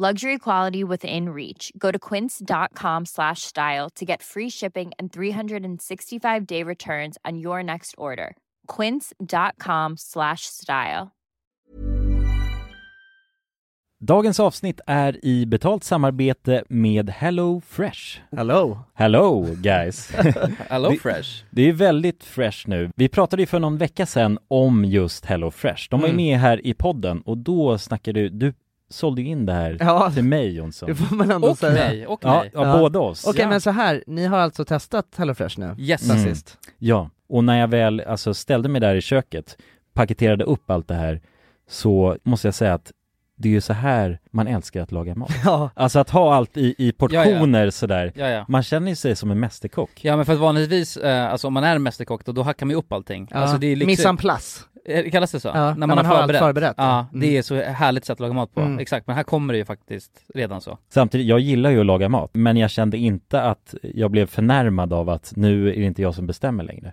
Luxury quality within reach. Go to quince.com slash style to get free shipping and 365 day returns on your next order. Quince.com slash style. Dagens avsnitt är i betalt samarbete med Hello Fresh. Hello! Hello guys! Hello Det- Fresh! Det är väldigt fresh nu. Vi pratade ju för någon vecka sedan om just Hello Fresh. De var ju Mm. med här i podden och då snackade du, du sålde ju in det här Ja. till mig Jonsson. Det får man ändå Och säga. mig, och Ja, mig. ja, Ja. båda oss. Okej Ja. men så här, ni har alltså testat Hello Fresh nu? Yes. Sen Mm. sist? Ja, och när jag väl alltså, ställde mig där i köket, paketerade upp allt det här, så måste jag säga att det är ju så här man älskar att laga mat. Ja, Alltså att ha allt i, i portioner sådär. Ja, ja. Man känner ju sig som en mästerkock. Ja men för att vanligtvis, eh, alltså om man är en mästerkock då, då hackar man ju upp allting. ja. Alltså det är lyxigt. Missan Plus. Eh, Kallas det så? Ja, när man har allt förberett, Ja, ja. det Mm. är så härligt sätt att laga mat på. Mm. Exakt, men här kommer det ju faktiskt redan så. Samtidigt, jag gillar ju att laga mat, men jag kände inte att jag blev förnärmad av att nu är det inte jag som bestämmer längre.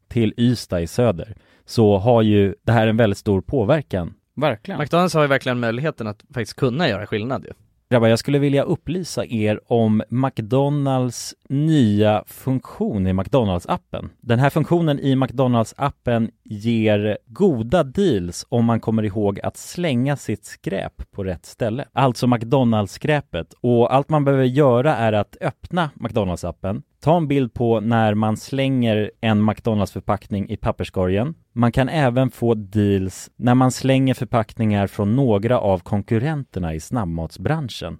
till Ystad i söder, så har ju det här en väldigt stor påverkan Verkligen. McDonalds har ju verkligen möjligheten att faktiskt kunna göra skillnad ju. Grabbar, jag skulle vilja upplysa er om McDonalds nya funktion i McDonalds-appen. Den här funktionen i McDonalds-appen ger goda deals om man kommer ihåg att slänga sitt skräp på rätt ställe. Alltså McDonalds-skräpet. Och allt man behöver göra är att öppna McDonalds-appen, ta en bild på när man slänger en McDonalds-förpackning i papperskorgen. Man kan även få deals när man slänger förpackningar från några av konkurrenterna i snabbmatsbranschen.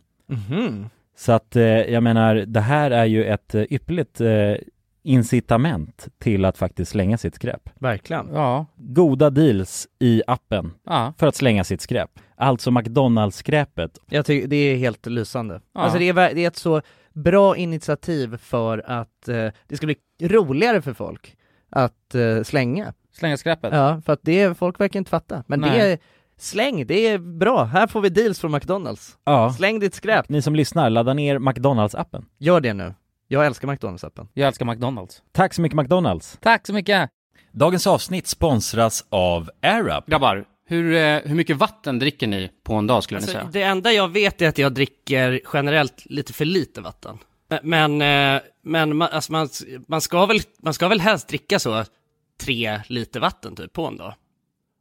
Mhm. Så att eh, jag menar, det här är ju ett eh, ypperligt eh, incitament till att faktiskt slänga sitt skräp. Verkligen. Ja, Goda deals i appen ja. för att slänga sitt skräp. Alltså McDonalds-skräpet. Jag tycker det är helt lysande. Ja. Alltså det är, ver- det är ett så bra initiativ för att eh, det ska bli roligare för folk att eh, slänga. Slänga skräpet. Ja, för att det, är- folk verkar inte fatta. Men det Nej. är, släng, det är bra. Här får vi deals från McDonalds. Ja. Släng ditt skräp. Ni som lyssnar, ladda ner McDonalds-appen. Gör det nu. Jag älskar McDonalds-appen. Jag älskar McDonalds. Tack så mycket McDonalds! Tack så mycket! Dagens avsnitt sponsras av AirUp. Grabbar, hur, eh, hur mycket vatten dricker ni på en dag skulle ni Alltså, säga? det enda jag vet är att jag dricker generellt lite för lite vatten. Men, men, eh, men man, alltså man, man, ska väl, man ska väl helst dricka så tre liter vatten typ på en dag.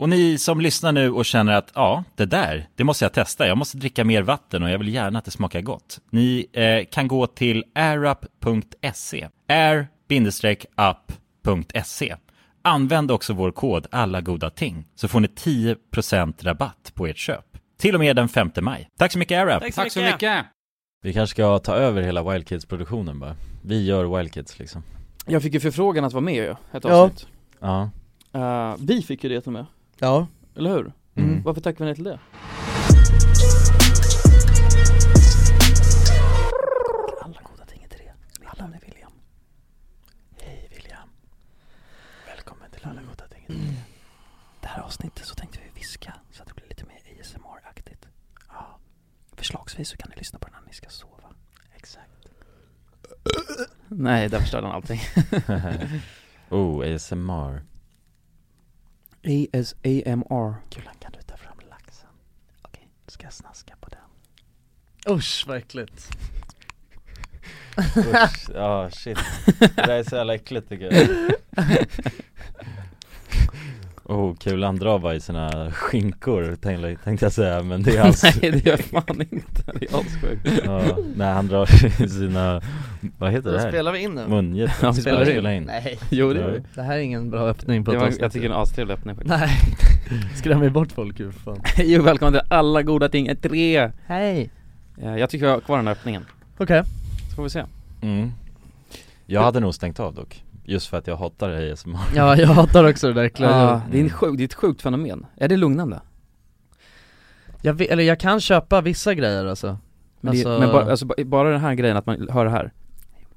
Och ni som lyssnar nu och känner att ja, det där, det måste jag testa. Jag måste dricka mer vatten och jag vill gärna att det smakar gott. Ni eh, kan gå till airup.se, air-up.se. Använd också vår kod alla goda ting så får ni 10% rabatt på ert köp. Till och med den 5 maj. Tack så mycket AirUp! Tack så mycket! Vi kanske ska ta över hela Wild Kids-produktionen bara. Vi gör Wild Kids liksom. Jag fick ju förfrågan att vara med ju, ett Ja. avsnitt. Ja. Eh, vi fick ju det till och med, Ja, eller hur? Mm. Varför tackar vi nej till det? Alla goda ting är tre. Alla med William. Hej William. Välkommen till Alla goda ting är Mm. tre. Det här avsnittet så tänkte vi viska så att det blir lite mer ASMR-aktigt. Ja. Förslagsvis så kan ni lyssna på den när ni ska sova. Exakt. Nej, där förstörde han allting. Mm. oh, ASMR. ASAMR. Kulan kan du ta fram laxen? Okej, ska jag snaska på den? usch vad äckligt Usch, ja shit. Det där är så jävla äckligt tycker jag. Oh, kul andra var i sina skinkor tänkte tänkte jag säga, men det är hans Nej, det gör jag fan inte. Det är assjukt. Ja, nej han drar i sina, vad heter det Då här? spelar vi in nu Munget, Ja, vi spelar spelar spela in. in. Nej, Jo, det Ja. gör vi. det här är ingen bra öppning på Det ett var, avsnitt jag tycker en astrevlig öppning faktiskt. Nej, skrämmer bort folk ju för fan Hej och välkommen till alla goda ting är tre. Hej Eh, Jag tycker jag har kvar den här öppningen. Okej Så får vi se. Mm. Jag hade nog stängt av dock, just för att jag hatar ASMR Ja, jag hatar också det där äckliga Ah, ljudet. det, är en sjuk, det är ett sjukt fenomen. Är det lugnande? jag vet, eller jag kan köpa vissa grejer alltså Men, det, Alltså- men bara, alltså, ba- bara den här grejen att man hör det här.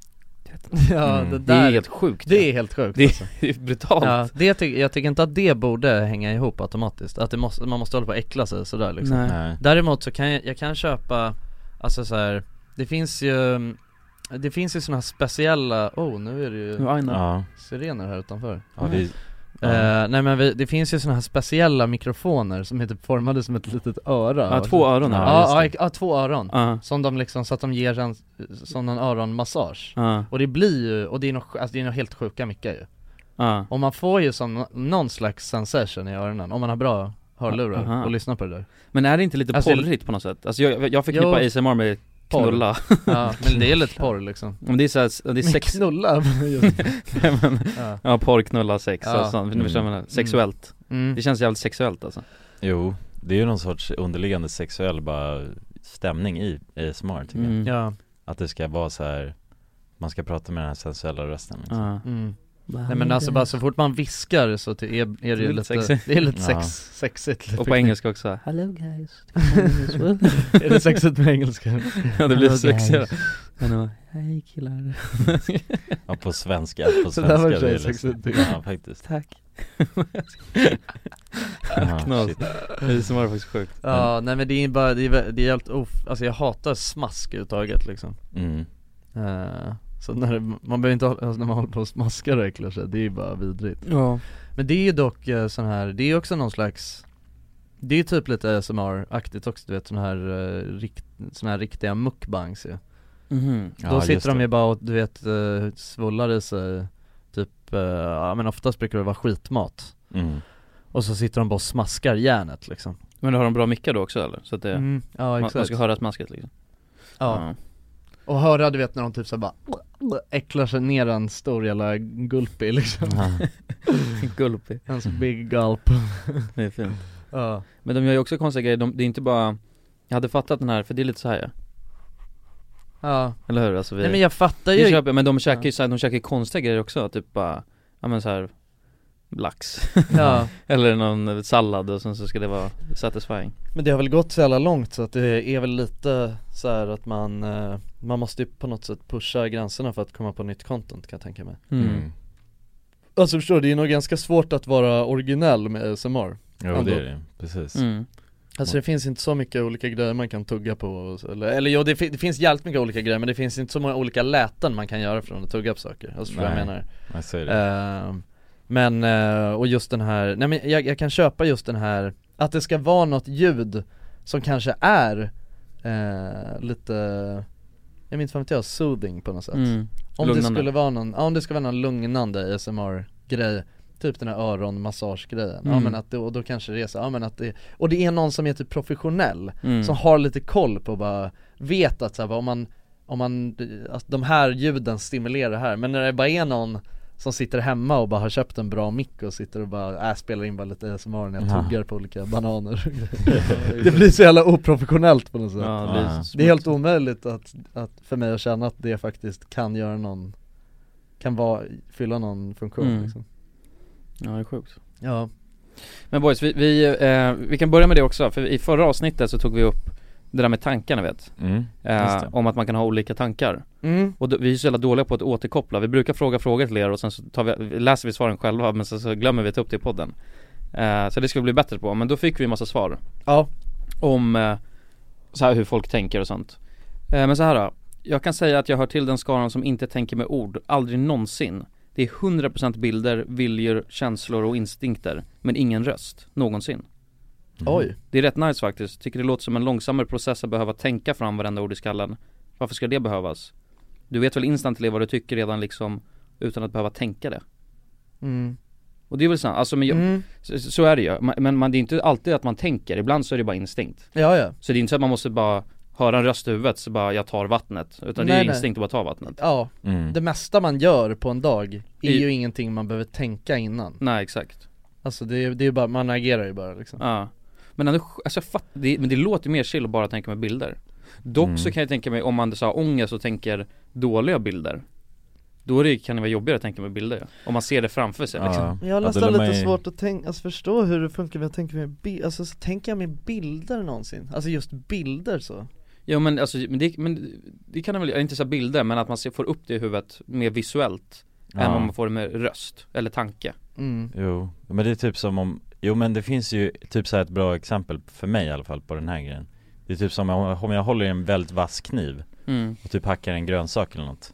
Ja, Mm. det Det där är helt sjukt. det är helt sjukt Det är- alltså. Det är brutalt. Ja, det ty- jag tycker inte att det borde hänga ihop automatiskt, att det måste, man måste hålla på och äckla sig sådär liksom Nej. Nej. Däremot så kan jag, jag kan köpa, alltså så här, det finns ju, det finns ju såna här speciella, oh nu är det ju Nu Aina. Ja, sirener här utanför ja vi, Ja. Eh, Nej men vi, det finns ju såna här speciella mikrofoner som är typ formade som ett litet öra Ja, två öron här. Ja, Ja, just ja, ja, två öron Ja. Som de liksom, så att de ger en, som en öronmassage Ja. Och det blir ju, och det är nog, sj- alltså det är nog helt sjuka mickar ju Ja. Och man får ju som nå- någon slags sensation i öronen om man har bra hörlurar Aha. och lyssnar på det där Men är det inte lite Alltså, porrigt på något sätt? Alltså jag, jag förknippar Jo. ASMR med Porr. knulla. Ja, men det är lite porr liksom Men det är såhär, det är sex... knulla, Nej, men, ja. ja, porr, knulla, sex. Ja. Alltså, Mm. nu förstår jag vad jag menar. Sexuellt. mm. Det känns jävligt sexuellt alltså. jo, det är ju någon sorts underliggande sexuell bara stämning i ASMR tycker jag Mm. Ja. Ja, Att det ska vara så här. man ska prata med den här sensuella rösten liksom. mm. Nej men alltså bara så fort man viskar så ty- är, är det ju lite, sexigt. det är lite Ja. sex, sexigt lite. Och på engelska också. Hello guys. Är det sexigt med engelska? Ja, det blir sexigare. Hej killar. Ja, på svenska, på Så där svenska var det det är sexigt. liksom, Ja, faktiskt Tack. ja, Knas. shit. ASMR är faktiskt sjukt. Ja, nej men det är bara, det är, vä- det är helt of, alltså jag hatar smask överhuvudtaget liksom Mm. Eh, Så när det, man behöver inte, ha- alltså när man håller på och smaskar och äcklar sig, det är ju bara vidrigt Ja. Men det är ju dock eh, sån här, det är ju också någon slags Det är ju typ lite ASMR-aktigt också du vet sån här, eh, rikt, sån här riktiga mukbangs ju Mhm. Ja, Då just sitter de det. ju bara och du vet eh, svullar i sig typ, eh, ja men oftast brukar det vara skitmat mm. Och så sitter de bara och smaskar järnet liksom Mm, Men har de bra mickar då också eller? Så att det, Ja man, exakt man ska höra smasket liksom. ja. Och höra du vet när de typ såhär bara äcklar sig ner en stor jävla gulpi liksom Gulpi En Mm. sån big gulp Det är fint Ja. Men de gör ju också konstiga grejer, de, det är inte bara Jag hade fattat den här, för det är lite så här ja. Ja Eller hur? Alltså vi, Nej men jag fattar vi ju köper, men de käkar ju så här, de käkar ju konstiga grejer också, typ bara Ja men så här lax Ja. Eller någon sallad och sen så ska det vara satisfying Men det har väl gått så jävla långt så att det är väl lite så här att man, eh, man måste ju på något sätt pusha gränserna för att komma på nytt content kan jag tänka mig Mm. Alltså förstår du, det är nog ganska svårt att vara originell med ASMR Jo det är det, precis Alltså det finns inte så mycket olika grejer man kan tugga på, och så- eller, eller jo det, fi- det finns jävligt mycket olika grejer men det finns inte så många olika läten man kan göra från att tugga på saker, alltså förstår du vad jag Nej, menar jag säger Ehm, Men, eh, och just den här, nej men jag, jag kan köpa just den här, att det ska vara något ljud som kanske är eh, lite, jag minns inte jag, soothing på något sätt Mm, Om det lugnande. skulle vara någon, ja om det ska vara någon lugnande ASMR-grej Typ den här öronmassagegrejen, ja Mm. men att det, och då kanske det är så, ja men att det, och det är någon som är typ professionell Mm. Som har lite koll på bara, vet att så här, bara, om man, om man, att de här ljuden stimulerar det här Men när det bara är någon som sitter hemma och bara har köpt en bra mick och sitter och bara, äh, spelar in bara lite ASMR när jag Ja. tuggar på olika bananer och grejer. Det blir så jävla oprofessionellt på något sätt Ja, det blir Ja. så Det är helt omöjligt att, att, för mig att känna att det faktiskt kan göra någon, kan vara, fylla någon funktion Mm. liksom Ja det är sjukt Ja Men boys, vi, vi, eh, vi kan börja med det också, för i förra avsnittet så tog vi upp det där med tankarna vet Mm, eh, just det. Om att man kan ha olika tankar Mm. Och då, vi är så jävla dåliga på att återkoppla, vi brukar fråga frågor till er och sen så tar vi, läser vi svaren själva men sen så glömmer vi att ta upp det i podden eh, Så det ska vi bli bättre på, men då fick vi en massa svar Ja Om eh, så här hur folk tänker och sånt eh, Men så här då, jag kan säga att jag hör till den skaran som inte tänker med ord, aldrig någonsin Det är 100% bilder, viljor, känslor och instinkter, men ingen röst, någonsin Oj. Det är rätt nice faktiskt, tycker det låter som en långsammare process att behöva tänka fram varenda ord i skallen Varför ska det behövas? Du vet väl instantly vad du tycker redan liksom utan att behöva tänka det? Mm. Och det är väl sant, alltså men jag, Mm. så, så är det ju, Ma- men man, det är inte alltid att man tänker, ibland så är det bara instinkt Ja, ja. Så det är inte så att man måste bara höra en röst i huvudet så bara jag tar vattnet, utan det är Nej, ju nej. instinkt att bara ta vattnet Ja, Mm. det mesta man gör på en dag är I- Mm. ju ingenting man behöver tänka innan Nej exakt Alltså det är ju det är ju bara, man agerar ju bara liksom Ja Men ändå, alltså jag fatt, det, men det låter mer chill att bara tänka med bilder Dock Mm. så kan jag tänka mig om man så har ångest och tänker dåliga bilder Då är det, kan det vara jobbigare att tänka med bilder ja. Om man ser det framför sig liksom Men jag har nästan lite svårt att tänka, alltså förstå hur det funkar med att tänka med bi- alltså så tänker jag med bilder någonsin? Alltså just bilder så Ja men alltså, men det, men det kan det väl, inte så här bilder men att man ser, får upp det i huvudet mer visuellt Ja. Än om man får det med röst, eller tanke Mm. Jo, men det är typ som om, jo men det finns ju typ så här ett bra exempel för mig i alla fall på den här grejen Det är typ som om om jag håller i en väldigt vass kniv Mm. och typ hackar en grönsak eller något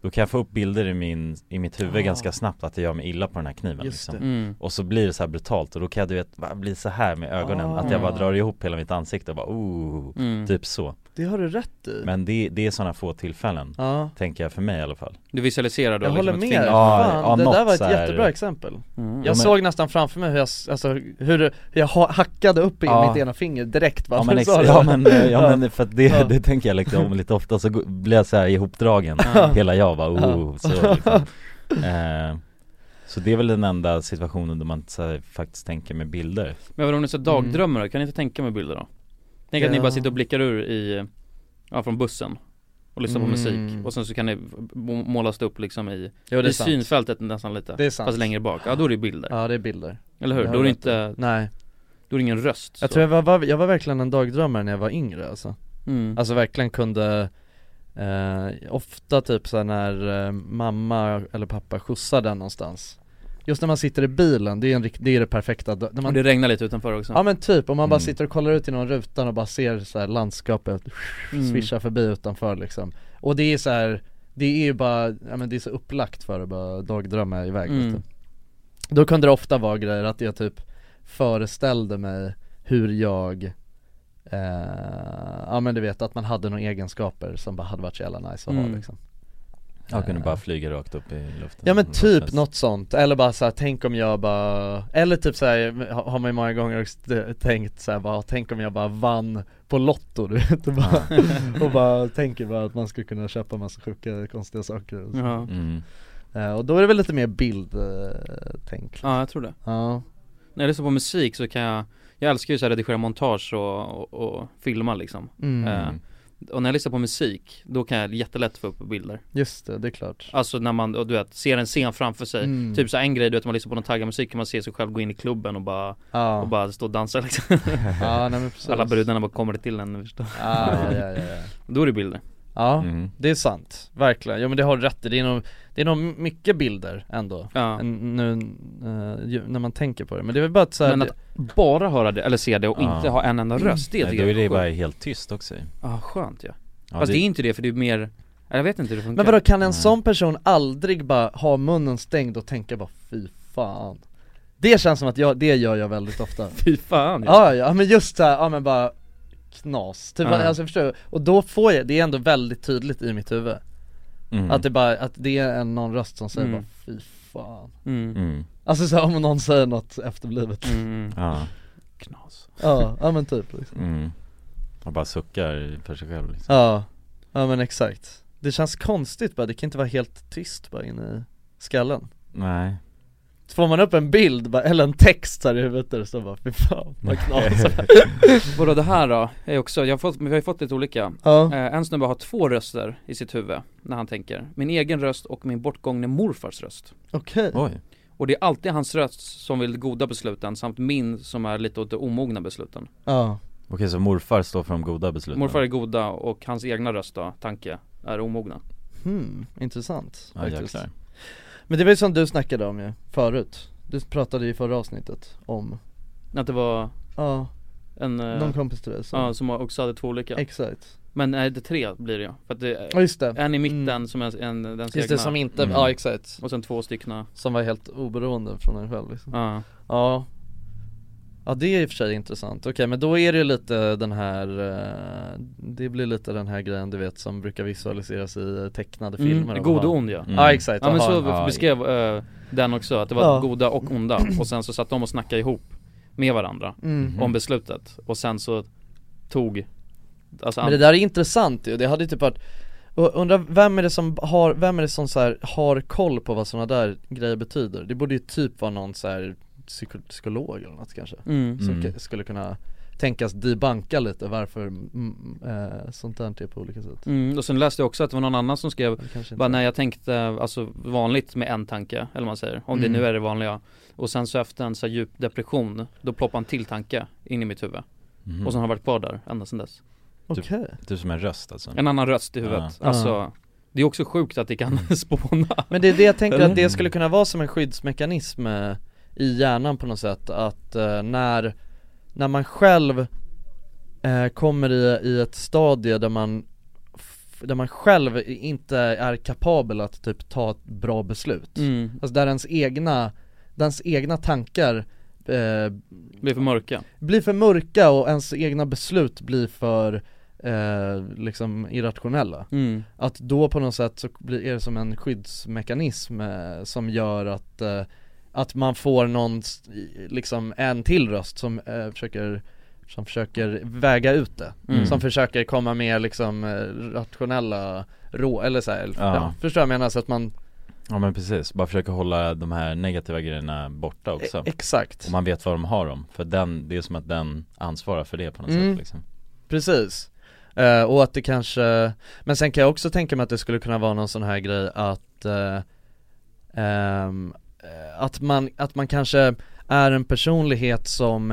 Då kan jag få upp bilder i, min, i mitt huvud Ah. ganska snabbt att det gör mig illa på den här kniven Just liksom. det. Mm. Och så blir det så här brutalt och då kan jag du vet, bara bli så här med ögonen Att jag bara Ah. drar ihop hela mitt ansikte och bara oh, Mm. typ så Det har du rätt i Men det, det är sådana få tillfällen, Ja. tänker jag för mig i alla fall Du visualiserar då liksom Jag håller ett med, finger. fan, det där var ett så här- jättebra exempel Mm. Jag Ja, men- såg nästan framför mig hur jag, s- alltså hur, hur jag ha- hackade upp i Ja. mitt ena finger direkt bara Ja men, när ex- du sa det. ja, men, eh, ja, Ja. men för att det, Ja. det tänker jag liksom lite ofta så go- blir jag så här ihopdragen Ja. Hela jag bara Ja. oh, så liksom. eh, Så det är väl den enda situationen där man så här, faktiskt tänker med bilder Men vadå om Mm. ni så dagdrömmer då? Kan ni inte tänka med bilder då? Tänk att ni Ja. bara sitter och blickar ur i, ja från bussen och lyssnar på Mm. musik och sen så kan det må- målas det upp liksom i, Jo, det är i sant. synfältet nästan lite Det är sant. Fast längre bak, ja då är det bilder Ja det är bilder Eller hur? Det har Då är det du rätt inte, Nej då är det ingen röst Jag så. tror jag var- var, jag var verkligen en dagdrömmare när jag var yngre alltså Mm. Alltså verkligen kunde eh, Ofta typ såhär när eh, mamma eller pappa skjutsar den någonstans Just när man sitter i bilen, det är, en, rikt- det, är det perfekta dag- när man, Och det regnar lite utanför också Ja men typ, om man bara Mm. sitter och kollar ut genom rutan och bara ser så här landskapet Mm. svischa förbi utanför liksom Och det är så här, det är ju bara, ja men det är så upplagt för att bara dagdrömma iväg Mm. vet du. Då kunde det ofta vara grejer att jag typ föreställde mig hur jag eh, Ja men du vet att man hade några egenskaper som bara hade varit så jävla nice att Mm. ha liksom Jag kunde bara flyga rakt upp i luften Ja men typ Något- något sånt, eller bara såhär, tänk om jag bara Eller typ såhär, ha- har man ju många gånger också t- tänkt såhär bara, tänk om jag bara vann på Lotto du vet och bara, och bara tänker bara att man skulle kunna köpa massa sjuka konstiga saker och, så. Ja. Eh, och då är det väl lite mer bildtänk Ja, jag tror det. Ja. När jag lyssnar på musik så kan jag, jag älskar ju så här redigera montage och, och, och filma liksom. Mm. Eh, och när jag lyssnar på musik, då kan jag jättelätt få upp bilder. Just det, det är klart Alltså när man, och du vet, ser en scen framför sig. Mm. Typ så här en grej, du vet, man lyssnar på någon taggad musik kan man se sig själv gå in i klubben och bara, Ja. och bara stå och dansa liksom. Ja, nej, men precis. Alla brudarna bara kommer till en, förstår du? Ja, ja, ja, ja, ja. Då är det bilder. Ja, Mm. det är sant, verkligen. Ja men det har du rätt i, det är nog, det är nog mycket bilder ändå Ja. N- Nu, eh, ju- när man tänker på det, men det är väl bara att så här, Men att bara höra det, eller se det och Ja. inte ha en enda röst, det Nej, tycker då är jag det sjukt. bara helt tyst också ju. Ja, skönt ja. Ja, Fast det... det- är inte det för det är mer, jag vet inte hur det funkar Men vadå, kan en sån person aldrig bara ha munnen stängd och tänka bara fy fan? Det känns som att jag, det gör jag väldigt ofta Fy fan ja, ja, ja men just såhär, ja men bara knas, typ, Ja. alltså förstår du? Och då får jag, det är ändå väldigt tydligt i mitt huvud Mm. Att det bara, att det är en, någon röst som säger Mm. bara fy fan Mm. Mm. Alltså såhär om någon säger något efterblivet Ja. Knas Ja, ja men typ liksom. Mm. Och bara suckar för sig själv liksom. Ja, ja men exakt Det känns konstigt bara, det kan inte vara helt tyst bara inne i skallen Nej. Så Får man upp en bild bara, eller en text här i huvudet där det står bara fy fan vad knas Vadå det här då? Är också, jag har fått, vi har ju fått lite olika Ja. eh, En snubbe har två röster i sitt huvud när han tänker Min egen röst och min bortgångne morfars röst Okej Oj Och det är alltid hans röst som vill goda besluten samt min som är lite åt det omogna besluten Ja Okej så morfar står för de goda besluten? Morfar är goda och hans egna röst då, tanke, är omogna Hmm, intressant Ja, faktiskt. jäklar. Men det var ju som du snackade om ju, förut Du pratade ju i förra avsnittet om Att det var Ja. en, eh, Någon kompis till dig som- Ja, som också hade två olika Exakt Men nej, det är tre blir det ju För att det, Ja, just det. Mm. En i mitten som är en, den det, som inte- Mm. ja, exakt Och sen två stycken Som var helt oberoende från en själv liksom. Ja Mm. Ja Ja det är i och för sig intressant, okej men då är det ju lite den här eh, Det blir lite den här grejen du vet som brukar visualiseras i eh, tecknade Mm, filmer God ha- och ond ja Ja exakt, Ja men att ha så en- ja, beskrev eh, den också, att det var Ja. goda och onda och sen så satt de och snackade ihop med varandra Mm. om beslutet och sen så tog alltså, Men det där är intressant ju, det hade ju typ varit och Undrar vem är det som har, vem är det som så här har koll på vad sådana där grejer betyder? Det borde ju typ vara någon så här psyko- psykolog eller något kanske Mm. Som Mm. ka- skulle kunna tänkas debanka lite varför mm, eh, sånt där är på olika sätt Mm, och sen läste jag också att det var någon annan som skrev, kanske bara när jag tänkte, alltså vanligt med en tanke, eller vad man säger, om Mm. det nu är det vanliga Och sen så efter en så här djup depression, då ploppar en till tanke in i mitt huvud Mhm. Mm. Och sen har varit kvar där ända sedan dess Okej Typ, typ som en röst alltså En annan röst i huvudet, Ja. Mm. alltså Ja. Det är också sjukt att det kan spåna Men det är det jag tänker Eller? att det skulle kunna vara som en skyddsmekanism eh, i hjärnan på något sätt att eh, när, när man själv eh, kommer i, i ett stadie där man f- där man själv inte är kapabel att typ ta ett bra beslut Mm. Alltså där ens egna, ens egna tankar eh, Blir för mörka blir för mörka och ens egna beslut blir för eh, liksom irrationella Mm. Att då på något sätt så blir, är det som en skyddsmekanism eh, som gör att, eh, att man får någon, s- i- liksom en till röst som eh, försöker som försöker väga ut det, Mm. som försöker komma med liksom eh, rationella rå, eller så här, ja. Ja. förstår jag vad jag menar? Så att man, Ja men precis, bara försöka hålla de här negativa grejerna borta också E- exakt. Och man vet vad de har dem, för den, det är som att den ansvarar för det på något Mm. sätt liksom Precis. Eh, och att det kanske, men sen kan jag också tänka mig att det skulle kunna vara någon sån här grej att eh, ehm, eh, att, man, att man kanske är en personlighet som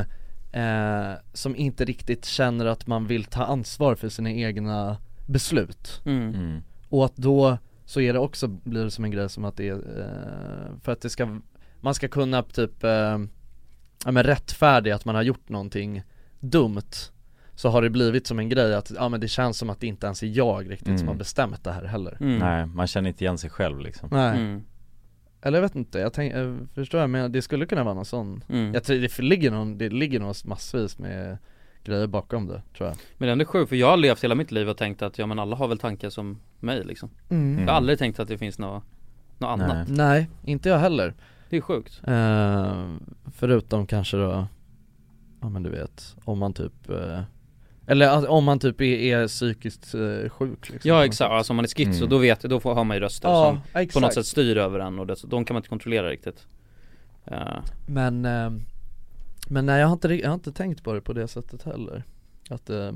eh, som inte riktigt känner att man vill ta ansvar för sina egna beslut Mm. Mm. och att då så är det också, blir det som en grej som att det är, eh, för att det ska, man ska kunna typ, eh, ja men rättfärdiga att man har gjort någonting dumt Så har det blivit som en grej att, ja men det känns som att det inte ens är jag riktigt som Mm. har bestämt det här heller Mm. Nej, man känner inte igen sig själv liksom Nej Eller jag vet inte, jag tänk, eh, förstår jag men det skulle kunna vara någon sån Mm. Jag tror det ligger någon, det ligger någon massvis med grejer bakom det tror jag Men det är ändå sjukt för jag har levt hela mitt liv och tänkt att ja men alla har väl tankar som mig liksom Mm. Jag har aldrig tänkt att det finns något, något annat Nej, inte jag heller Det är sjukt Eh, förutom kanske då, ja men du vet, om man typ eh, Eller att- om man typ är, är psykiskt eh, sjuk liksom Ja exakt, alltså om man är schizo Mm. då vet då får, har man ju röster Ja, som på exakt. något sätt styr över en och det, så de kan man inte kontrollera riktigt Eh, Men, eh, men nej jag har, inte, ri- jag har inte tänkt på det på det sättet heller Att eh,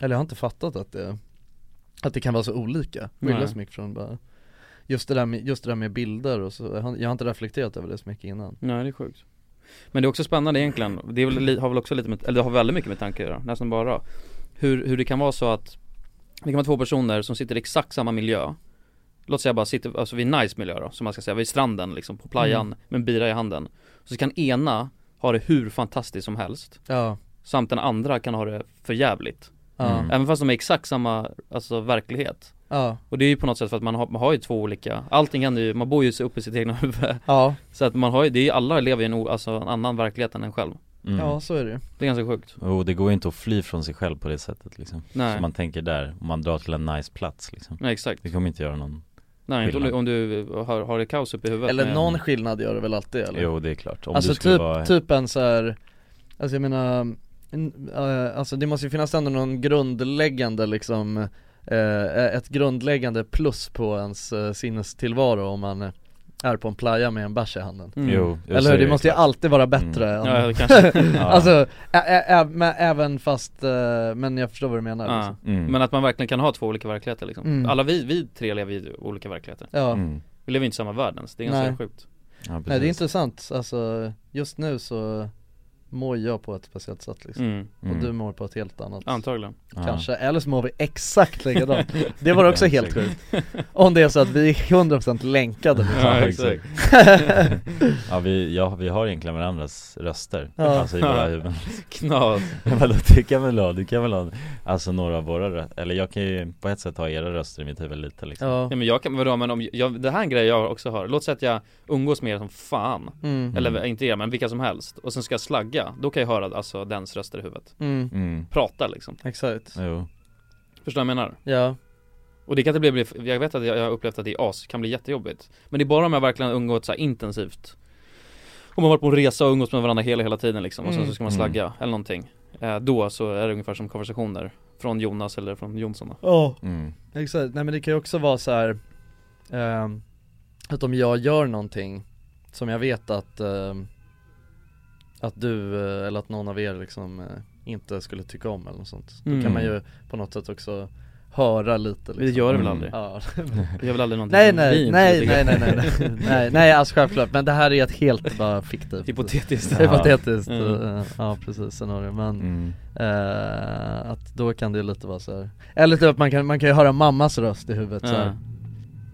eller jag har inte fattat att det, att det kan vara så olika, skilja Nej. så mycket från bara Just det där med, just det där med bilder och så, jag har, jag har inte reflekterat över det så mycket innan Nej det är sjukt Men det är också spännande egentligen, det är väl, li- har väl också lite med, eller det har väldigt mycket med tankar att göra, nästan bara hur, hur det kan vara så att Det kan vara två personer som sitter i exakt samma miljö Låt säga bara sitter, alltså vid en nice miljö då, som man ska säga, vid stranden liksom, på playan Mm. med en bira i handen Så kan ena ha det hur fantastiskt som helst Ja. Samt den andra kan ha det för jävligt Ja. Mm. Även fast de är exakt samma, alltså verklighet Ja. Och det är ju på något sätt för att man har, man har ju två olika, allting händer ju, man bor ju så uppe i sitt egna huvud Ja. Så att man har ju, det är, ju- alla lever ju i en, o- alltså, en annan verklighet än en själv Mm. Ja så är det ju. Det är ganska sjukt Jo det går ju inte att fly från sig själv på det sättet liksom Nej. Som man tänker där, om man drar till en nice plats liksom Nej, exakt. Det kommer inte göra någon Nej inte om skillnad. du, om du har, har det kaos uppe i huvudet Eller med- någon skillnad gör det väl alltid eller? Jo, det är klart. Om alltså du skulle typ, vara- typ en så här, alltså jag menar, en, eh, alltså det måste ju finnas ändå någon grundläggande liksom, eh, ett grundläggande plus på ens eh, sinnestillvaro om man eh, är på en playa med en bärs i handen Mm. Jo, jag Eller ser hur? Det det, måste ju klart. alltid vara bättre Mm. än, Ja, det kanske- Ja. Alltså, ä- ä- ä- men även fast, eh, men jag förstår vad du menar ja. liksom. Mm. Men att man verkligen kan ha två olika verkligheter liksom Mm. Alla vi, vi tre lever ju i olika verkligheter Ja. Mm. Vi lever ju inte i samma värld ens, det är ganska Nej. sjukt Nej det är intressant, alltså just nu så mår jag på ett speciellt sätt liksom Mm. Och Mm. du mår på ett helt annat Antagligen. Kanske, Ja. eller så mår vi exakt likadant Det var också Ja, helt exakt. sjukt Om det är så att vi är 100% länkade liksom. ja, vi, ja, vi har egentligen varandras röster, Ja. alltså i våra huvuden Knas. Men Vadå, du kan väl ha, du kan väl ha, alltså några av våra röster, eller jag kan ju på ett sätt ha era röster i mitt huvud lite liksom Ja. men jag kan, vadå men om, jag, det här är en grej jag också har, låt säga att jag umgås med er som fan Mm. Eller Mm. inte er men vilka som helst och sen ska jag slagga, då kan jag höra alltså dens röster i huvudet Mm. Mm. Prata liksom Exakt Jo Förstår du vad jag menar? Ja Och det kan inte bli, jag vet att jag jag har upplevt att det är as, kan bli jättejobbigt Men det är bara om jag verkligen har umgåtts så här intensivt Om man varit på en resa och umgåtts med varandra hela, hela tiden liksom och sen Mm. så ska man Mm. slagga eller någonting eh, Då så är det ungefär som konversationer Från Jonas eller från Jonsson då. Ja, Mm. exakt. Nej men det kan ju också vara så här ehm, att om jag gör någonting som jag vet att ehm, att du eh, eller att någon av er liksom eh, inte skulle tycka om eller något sånt. Då Mm. kan man ju på något sätt också höra lite liksom. Vi gör det väl aldrig? Ja. Vi gör väl aldrig någonting nej, som vi nej, inte nej, tycker nej, om. nej, nej, nej, nej, nej, alltså självklart, men det här är ett helt bara fiktivt Hypotetiskt. Hypotetiskt, Ja. Mm. eh, ja precis, scenario, men eh, att då kan det ju lite vara så här. eller typ att man kan, man kan ju höra mammas röst i huvudet så här. Ja.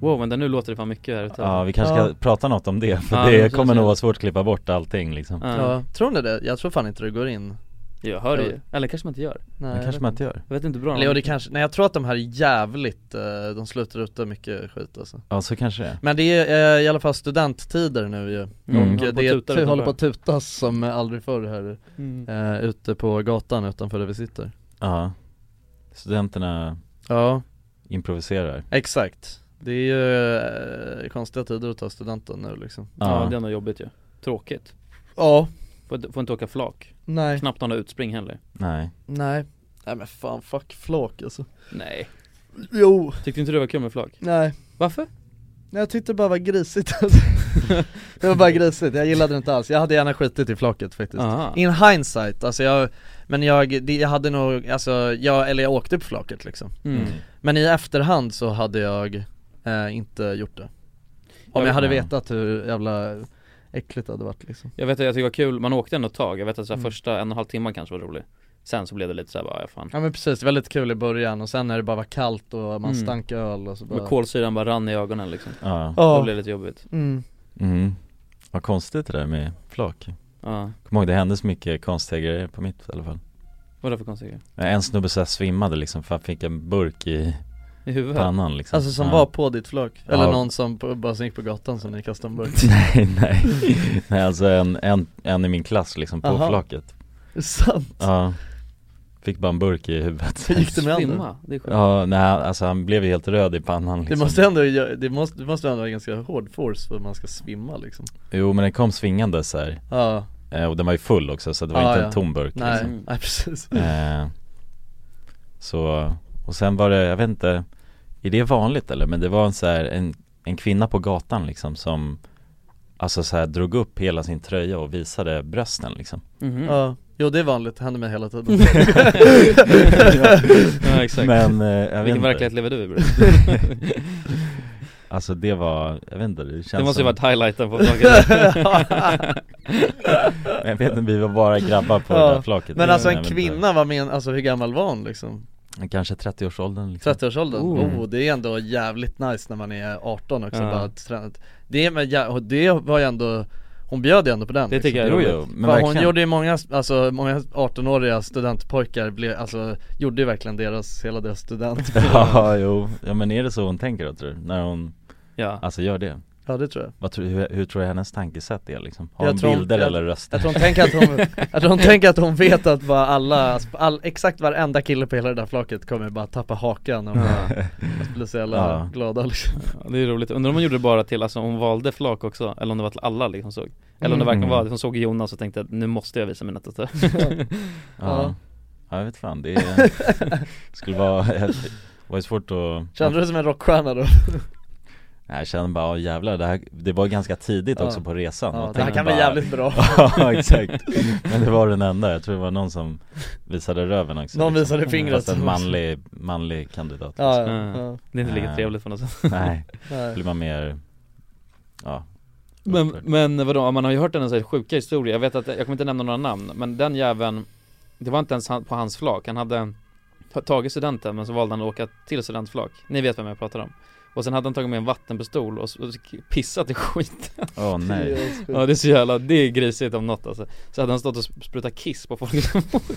Wow men där nu låter det fan mycket här ute. Mm. Ja, vi kanske ska Ja. prata något om det, för Ja, men det så- kommer så- nog vara svårt att klippa bort allting liksom Ja, tror ni det? Jag tror fan inte det går in Eh, Jag hör det ju. Eller kanske man inte gör. Nej, Det kanske jag man vet inte gör. Jag vet inte hur bra Eller, ja, det kanske, nej jag tror att de här är jävligt, eh, de slutar ute mycket skit alltså Ja, så kanske det är. Men det är eh, i alla fall studenttider nu ju, Mm. och Håller eh, på det att tuta är, håller utanför. på att tutas som eh, aldrig förr här Mm. eh, Ute på gatan utanför där vi sitter Ja Studenterna Ja Improviserar Exakt, det är ju eh, konstiga tider att ta studenten nu liksom Ja, det är nog jobbigt ju. Tråkigt. Ja. Får, får inte åka flak. Nej. Knappt några utspring heller. Nej Nej, nej men fan fuck flak alltså Nej. Jo. Tyckte inte du det var kul med flak? Nej Varför? Nej jag tyckte det bara var grisigt alltså. Det var bara grisigt, jag gillade det inte alls, jag hade gärna skitit i flaket faktiskt Aha. In hindsight, alltså jag, men jag, det, jag hade nog, alltså jag, eller jag åkte på flaket liksom Mm. Men i efterhand så hade jag eh, inte gjort det Om Jag- jag hade Ja. vetat hur jävla äckligt det hade varit liksom Jag vet att jag tycker det var kul, man åkte ändå ett tag. Jag vet att så här, Mm. första en och en halv timman kanske var rolig. Sen så blev det lite såhär bara, ja fan. Ja men precis, det var lite kul i början och sen när det bara var kallt och man Mm. stank öl och så bara Men kolsyran bara rann i ögonen liksom. Ja. Då Ja. blev det lite jobbigt. Mm. Mm. Vad konstigt det där med flak Ja. Kom ihåg det hände så mycket konstiga grejer på mitt i alla fall Vad är det för konstiga grejer? En snubbe så här svimmade liksom för han fick en burk i I huvudet? pannan liksom Alltså som Ja. var på ditt flak, eller Ja. någon som på, bara som gick på gatan som ni kastade en burk Nej nej, nej alltså en, en, en i min klass liksom på Aha. flaket Sant? Ja Fick bara en burk i huvudet Hur gick det med handen? Svimma, det är sjukt. Ja, nej alltså han blev ju helt röd i pannan Det liksom. måste ändå, gö- det måste, det måste ändå vara ganska hård force för att man ska svimma liksom Jo men den kom svingande så här. Ja. Eh, Och den var ju full också så det var Ja, inte ja. en tom burk Nej, Mm. liksom. nej, precis. Eh, Så, och sen var det, jag vet inte Är det vanligt eller? Men det var en så här, en, en kvinna på gatan liksom som Alltså så här drog upp hela sin tröja och visade brösten liksom Mm. Mhm. Ja, jo det är vanligt, det händer mig hela tiden Ja, exakt. Men, eh, jag vet Vilken inte. verklighet lever du i, bror? Alltså det var, jag vet inte, det känns Det måste ju som- varit highlighten på flaket. Men Jag vet inte, vi var bara grabbar på det där flaket Men alltså en Jag vet inte. kvinna, vad men, alltså hur gammal var hon liksom? Kanske 30-årsåldern liksom 30-årsåldern? Mm. Oh. det är ändå jävligt nice när man är 18 också Ja. bara att träna Det, är- men jä- och det var ju ändå Hon bjöd ju ändå på den Det tycker jag är Jo, roligt. jo, men För Hon verkligen. gjorde ju många, alltså många 18-åriga studentpojkar blev, alltså gjorde ju verkligen deras, hela deras student Ja, jo, ja men är det så hon tänker då tror du? När hon, ja. alltså gör det? Ja, det tror jag. Vad tror, hur, hur tror du hennes tankesätt är liksom? Har Jag hon tror hon- bilder jag- eller röster? jag tror hon tänker att hon- jag tror hon tänker att hon vet att bara alla, all, exakt varenda kille på hela det där flaket kommer bara tappa hakan och bara bli så jävla Ja. glada liksom Ja, Det är roligt, undrar om hon gjorde det bara till, alltså hon valde flak också, eller om det var till alla liksom såg Eller om det Mm. verkligen var, hon såg Jonas och tänkte att nu måste jag visa mina tatueringar Ja, ja jag vet fan, det är, skulle vara, det var ju svårt att Kände du dig som en rockstjärna då? Nej, jag kände bara, åh jävlar, det, här, det var ganska tidigt Ja. också på resan Ja, och det här tänkte kan bli bara- jävligt bra. Ja exakt, men det var den enda, jag tror det var någon som visade röven också liksom. Någon visade fingret. Fast en manlig, manlig kandidat Ja, liksom. ja, ja. Det är inte lika Eh, trevligt på något sätt. Nej, Nej. blir man mer, ja Men, men vadå, man har ju hört en sån sjuka historia, jag vet att, jag kommer inte nämna några namn, men den jäveln Det var inte ens han, på hans flak, han hade ta- tagit studenten men så valde han att åka till studentflak, ni vet vem jag pratar om Och sen hade han tagit med en vattenpistol och s- och pissat i skiten Åh, nej. Det är Ja det är så jävla, det är grisigt om något alltså Så hade han stått och sp- sprutat kiss på folk som åkte.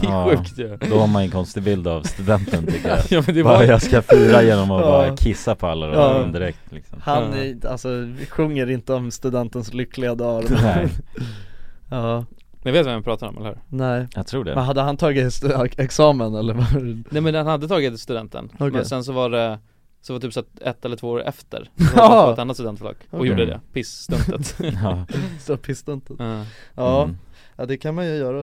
Det är sjukt ju Då har man ju en konstig bild av studenten tycker jag Ja, men det bara, var- jag ska fira genom att Ja. bara kissa på alla Ja. dem indirekt liksom Han är, alltså, vi sjunger inte om studentens lyckliga dagar Nej. Ja Ni vet vem jag pratar om eller hur? Nej Jag tror det Men hade han tagit stu- examen eller vad? Nej men han hade tagit studenten, Okej. men sen så var det så var det typ så att ett eller två år efter, så Ja. var han på ett annat studentflak och Okej. gjorde det, pisstuntet Ja. Mm. Så pisstuntet Ja. Ja. Mm. ja, det kan man ju göra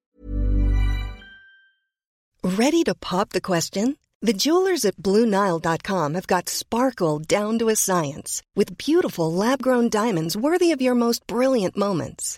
Ready to pop the question? The jewelers at BlueNile.com have got sparkle down to a science with beautiful lab grown diamonds worthy of your most brilliant moments.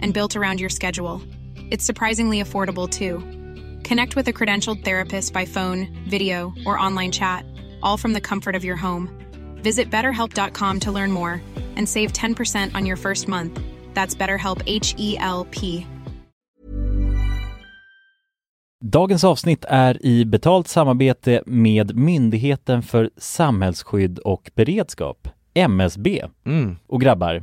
and built around your schedule. It's surprisingly affordable too. Connect with a credentialed therapist by phone, video, or online chat, all from the comfort of your home. Visit betterhelp.com to learn more and save 10% on your first month. That's BetterHelp H E L P. Dagens avsnitt är i betalt samarbete med Myndigheten för samhällsskydd och beredskap, MSB. Mm. Och grabbar,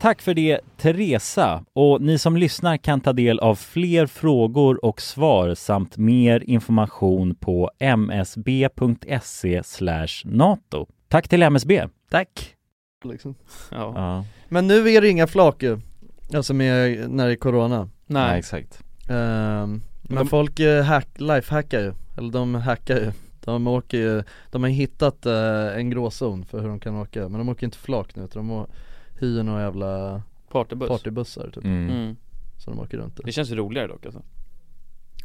Tack för det Teresa och ni som lyssnar kan ta del av fler frågor och svar samt mer information på msb.se E nato. Tack till MSB! Tack! Liksom. Ja. Men nu är det inga flak ju, alltså med, när det är corona Nej. Nej, exakt Ehm, Men De- folk eh, hack, lifehackar ju, eller de hackar ju De åker ju, de har hittat eh, en gråzon för hur de kan åka, men de åker inte flak nu utan de å- hyr några jävla Partybuss. partybussar typ Mm. Mm. Så de åker runt i. Det känns roligare dock alltså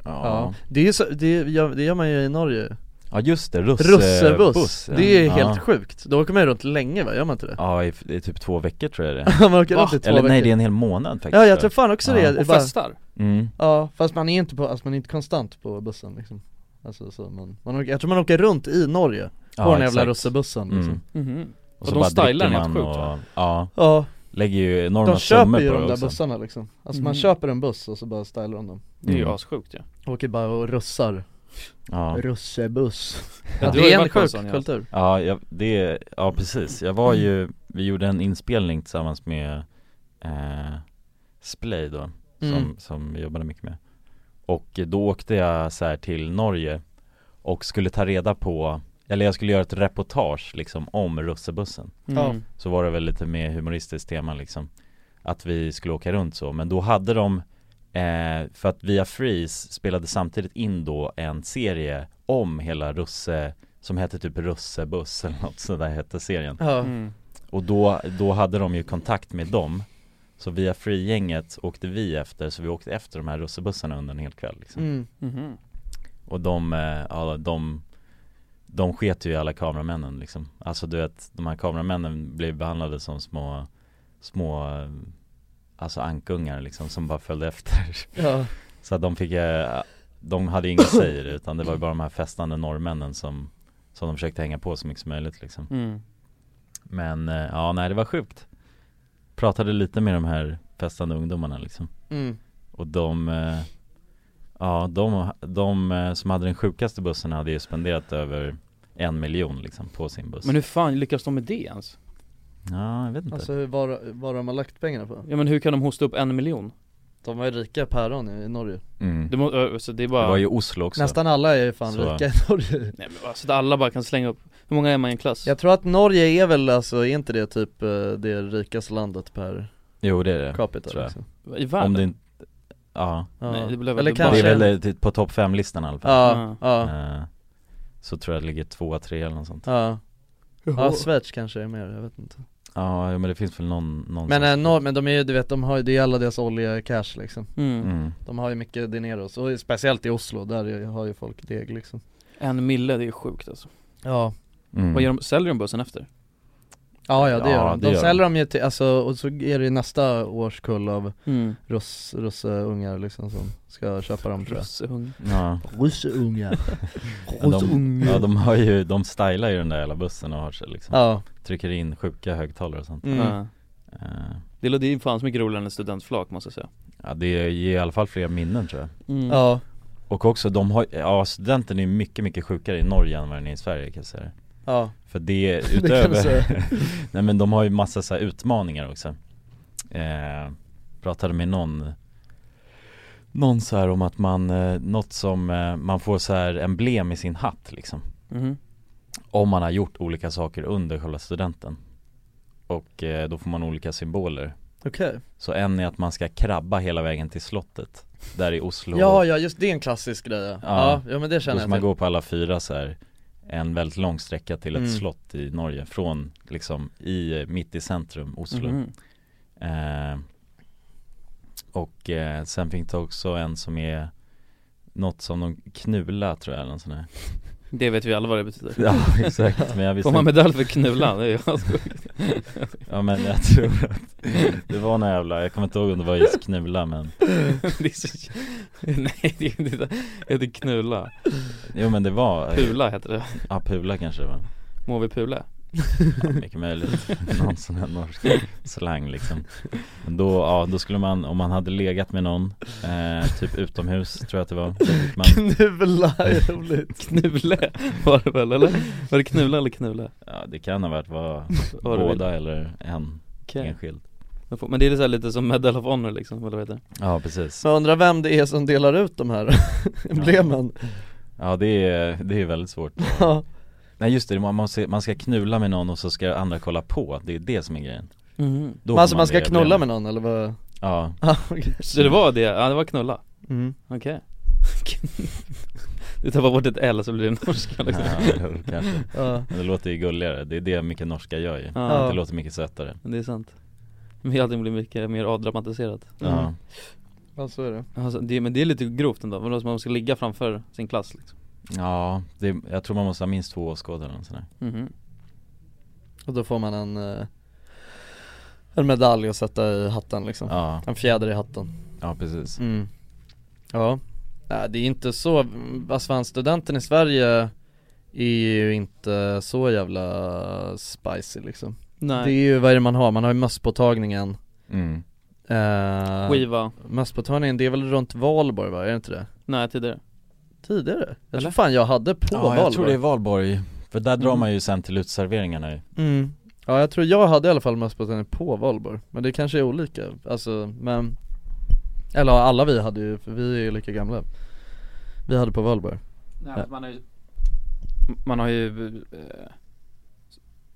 Ja, det, är så, det, gör, det gör man ju i Norge Ja just det, russ- Russebuss, buss, ja. det är Ja. helt sjukt, då åker man ju runt länge va, gör man inte det? Ja, i, det är typ två veckor tror jag det Ja, man åker runt i två Eller nej, veckor. det är en hel månad faktiskt Ja jag tror fan också det Och bara- festar Mm. Ja fast man är inte på, alltså man är inte konstant på bussen liksom Alltså så man, man åker, jag tror man åker runt i Norge På Ja, den jävla exakt. russebussen liksom Mm. Mhm. Och Och så de bara stylar dricker den man helt sjukt, va? och, ja, Ja. Lägger ju enorma De köper summor ju på de det där också. bussarna liksom Alltså Mhm. man köper en buss och så bara stylar de dem Det är ju assjukt ja Åker bara och russar Mm. Ja. Russebuss Ja, du har Det ju är en varit på en sjuk sån, ja. kultur Ja, jag, det, ja precis. Jag var ju, vi gjorde en inspelning tillsammans med eh, Splay då, som, Mm. som vi jobbade mycket med Och då åkte jag så här till Norge och skulle ta reda på, eller jag skulle göra ett reportage liksom om russebussen Ja. Mm. Så var det väl lite mer humoristiskt tema liksom Att vi skulle åka runt så, men då hade de eh, För att via Freeze spelade samtidigt in då en serie om hela russe Som hette typ russebuss eller något sådär hette serien Ja. Mm. Och då, då hade de ju kontakt med dem Så via Free-gänget åkte vi efter, så vi åkte efter de här russebussarna under en hel kväll liksom. Mm. Mhm. Och de, eh, ja, de, de sket ju i alla kameramännen liksom Alltså du vet, de här kameramännen blev behandlade som små, små eh, Alltså ankungar liksom som bara följde efter Ja. Så att de fick, eh, de hade ju inget säg i det, utan det var ju bara de här festande norrmännen som Som de försökte hänga på så mycket som möjligt liksom Mm. Men eh, ja, nej det var sjukt Pratade lite med de här festande ungdomarna liksom Mm. Och de eh, Ja, de, de eh, som hade den sjukaste bussen hade ju spenderat över en miljon liksom på sin buss Men hur fan lyckas de med det ens? Ja, jag vet inte Alltså hur- vad, vad de har lagt pengarna på? Ja men hur kan de hosta upp en miljon? De var ju rika päron i Norge Mm. Det, må, ö, så det, är bara... Det var ju Oslo också Nästan alla är ju fan Så- rika i Norge Nej men alltså att alla bara kan slänga upp, hur många är man i en klass? Jag tror att Norge är väl alltså, är inte det typ eh, det rikaste landet per Jo det är det, capita tror jag. liksom? I världen? Om det inte, ja Ja. Nej, det blev väl Eller Dubai. kanske- Det är väl eh, typ på topp 5 listan i alla fall Ja, ja. Eh, Så tror jag det ligger tvåa, tre eller något sånt Ja Ja, Jaha. Schweiz kanske är mer, jag vet inte Ja, jo, men det finns väl någon, någon Men, som- eh, Nor- men de är ju, du vet, de har ju, det är alla deras olja cash liksom Mm. Mm. De har ju mycket dineros, och speciellt i Oslo, där är- har ju folk deg liksom En mille, det är sjukt alltså Ja Mm. Vad gör de, säljer de bussen efter? Ja ja det Ja, gör de, det de gör säljer dem ju till, alltså, och så är det ju nästa årskull av Mm. russ, russeungar liksom som ska köpa dem tror jag Russeungar Ja. Russeungar Ja, de, ja, de har ju, de stylar ju den där hela bussen och har sig liksom Ja. Trycker in sjuka högtalare och sånt Mm. Ja. Eh, Det låter ju fan så mycket roligare än ett studentflak måste jag säga Ja det ger i alla fall fler minnen tror jag Mm. Ja. Och också de har, ja studenten är mycket mycket sjukare i Norge än vad den är i Sverige kan jag säga det. Ja. För det Det kan du utöver, säga. nej men de har ju massa så här utmaningar också eh, Pratade med någon Någon så här om att man, eh, något som, eh, man får så här emblem i sin hatt liksom Mhm. Om man har gjort olika saker under själva studenten Och eh, då får man olika symboler Okej. Så en är att man ska krabba hela vägen till slottet Där i Oslo Ja, ja just det är en klassisk grej ja, ja, ja men det känner då ska jag man till gå på alla fyra så här en väldigt lång sträcka till ett Mm. slott i Norge från liksom i, mitt i centrum, Oslo Mhm. eh, Och eh, sen finns det också en som är något som de knula tror jag eller något sånt där Det vet vi alla vad det betyder Ja exakt men jag visste Får man inte- medalj för knulan? Det är ju sjukt Ja men jag tror att det var någon jävla, jag kommer inte ihåg om det var just knula men det är så... Nej det är inte det heter knulla Jo men det var Pula heter det Ja pula kanske det var Må vi pula? Ja, mycket möjligt. Någon sån här norsk slang liksom. Men då, ja, då skulle man, om man hade legat med någon, eh, typ utomhus tror jag att det var. då fick Man, Knula är roligt Knule var det väl eller? Var det knula eller knule? ja, det kan ha varit vad, Vad du vill. båda eller en Okej. enskild. Men får- Men det är så här lite som Medal of Honor liksom, eller vad heter det? Ja, precis. Men jag undrar vem det är som delar ut de här emblemen Ja, det är, det är väldigt svårt. Ja. Nej just det, man, måste, man ska knulla med någon och så ska andra kolla på. Det är det som är grejen. Mhm. Då Men får alltså man ska det knulla brevet. med någon eller vad? Ja. Ja, okej. Så det var det, ja det var knulla? Mm. Okej Du tappar bort ett L så blir det norska liksom Ja, jo, kanske. Ja. Men det låter ju gulligare, det är det mycket norska gör ju. Ja. Det låter mycket sötare. Mm. Men Det är sant Men allting blir mycket mer avdramatiserat Ja. Ja så är det alltså, det, Men det är lite grovt ändå, vadå som man ska ligga framför sin klass liksom Ja, det, jag tror man måste ha minst två åskådare eller nåt sånt där. Och då får man en, eh, en medalj att sätta i hatten liksom Ja. En fjäder i hatten Ja, precis mm. Ja, Nej, det är inte så, alltså fan, studenten i Sverige är ju inte så jävla spicy liksom Nej. Det är ju, vad är det man har? Man har ju mösspåtagningen mm. eh, Skiva. Mösspåtagningen, det är väl runt valborg va? Är det inte det? Nej tidigare Tidigare? Jag Eller? tror fan jag hade på Ja, valborg jag tror det är valborg. För där drar Mm. man ju sen till utserveringarna ju. Mm. Ja jag tror jag hade i alla fall mösspåtagningen på valborg, men det kanske är olika, alltså men Eller ja, alla vi hade ju, för vi är ju lika gamla Vi hade på valborg Nej, men man har ju Man har ju eh,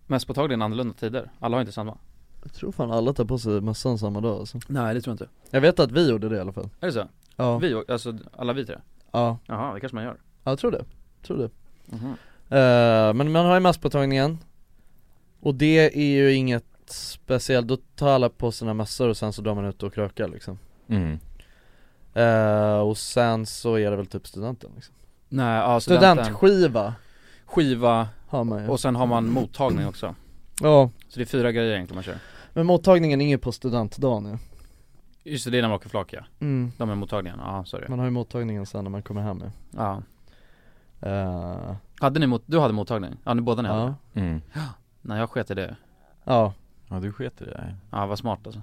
Mest påtagligen annorlunda tider, alla har inte samma Jag tror fan alla tar på sig mössan samma dag alltså. Nej det tror jag inte Jag vet att vi gjorde det i alla fall Är det så? Ja. Vi, och- alltså alla vi tre? Ja, Jaha, det kanske man gör ja jag tror det, tror det Mhm. Eh, Men man har ju masspåtagningen Och det är ju inget speciellt, då tar alla på sina mössor och sen så drar man ut och krökar liksom Mm. Eh, Och sen så är det väl typ studenten liksom Nej, ja, studenten. Studentskiva Skiva har man ju och sen har man mottagning också Ja, Så det är fyra grejer egentligen man kör men mottagningen är ju på studentdagen ju Just det, det är när man åker flak ja. Mm. De är mottagningen, ja sorry Man har ju mottagningen sen när man kommer hem ju Ja Eh, Hade ni mot, du hade mottagning? Ja ni båda ni Ja. hade Mm. Ja. Nej jag sket i det Ja Ja, du sket i det där. Ja vad smart alltså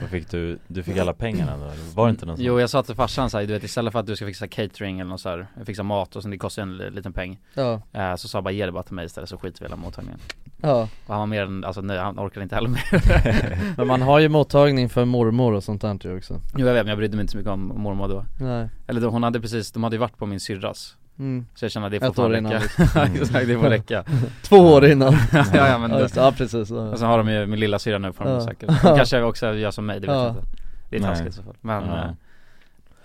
Vad fick du, du fick alla pengarna då? eller? Var det inte någon sån? Jo jag sa till farsan såhär, du vet istället för att du ska fixa catering eller något så här, fixa mat och sen det kostar ju en li- liten peng Ja. eh, Så sa jag bara ge det bara till mig istället så skiter vi i hela mottagningen Ja. Och han var mer än, alltså nej han orkade inte heller mer Men man har ju mottagning för mormor och sånt där ju också Jo jag vet men jag brydde mig inte så mycket om mormor då Nej. Eller då, hon hade precis, de hade ju varit på min syrras Mm. Så jag kände att det Ett får år fan innan, räcka liksom. Ja, Exakt, det får räcka Två år innan Ja, ja, men ja, det- just, det. ja precis ja. Och sen har de ju min lilla syra nu får de Ja. säkert De kanske också gör som mig, det vet Ja. jag inte Det är Nej. taskigt i så fall, men Ja. eh,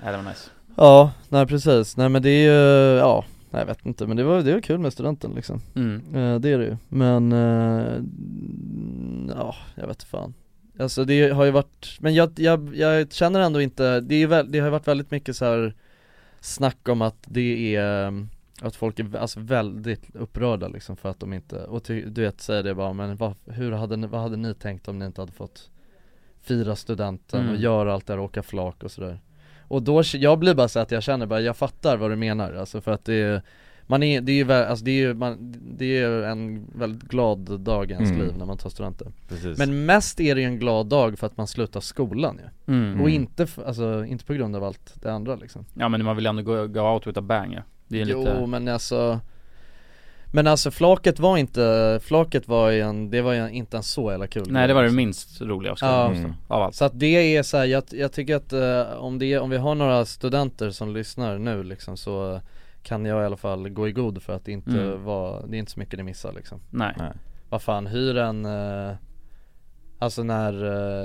Nej det var nice Ja, nej precis, nej men det är ju, ja, nej, jag vet inte men det var, det var kul med studenten liksom Mm. Eh, Det är det ju, men, eh, ja jag vet fan Alltså det har ju varit, men jag, jag, jag känner ändå inte, det, är ju väl, det har ju varit väldigt mycket så här snack om att det är, eh, att folk är vä- alltså väldigt upprörda liksom för att de inte, och ty, du vet säger det bara men vad, hur hade ni, vad hade ni tänkt om ni inte hade fått fira studenten Mm. och göra allt det där och åka flak och sådär och då, jag blir bara så att jag känner bara, jag fattar vad du menar alltså för att det är man är, det är ju, vä- alltså det är ju, man, det är ju en väldigt glad dag i ens Mm. liv när man tar studenten Precis. Men mest är det ju en glad dag för att man slutar skolan ju Mm. Och Mm. inte, f- alltså inte på grund av allt det andra liksom Ja men man vill ändå gå, gå out with a bang ja. Det är ju Jo lite men alltså Men alltså flaket var inte, flaket var ju en, det var ju inte en så jävla kul Nej det var det minst roliga också Ja, just det, av allt så att det är så här, jag, jag tycker att eh, om, det, om vi har några studenter som lyssnar nu liksom så kan jag i alla fall gå i god för att det inte Mm. var, det är inte så mycket ni missar liksom Nej. Nej. Vad fan, hyr en, eh, alltså när,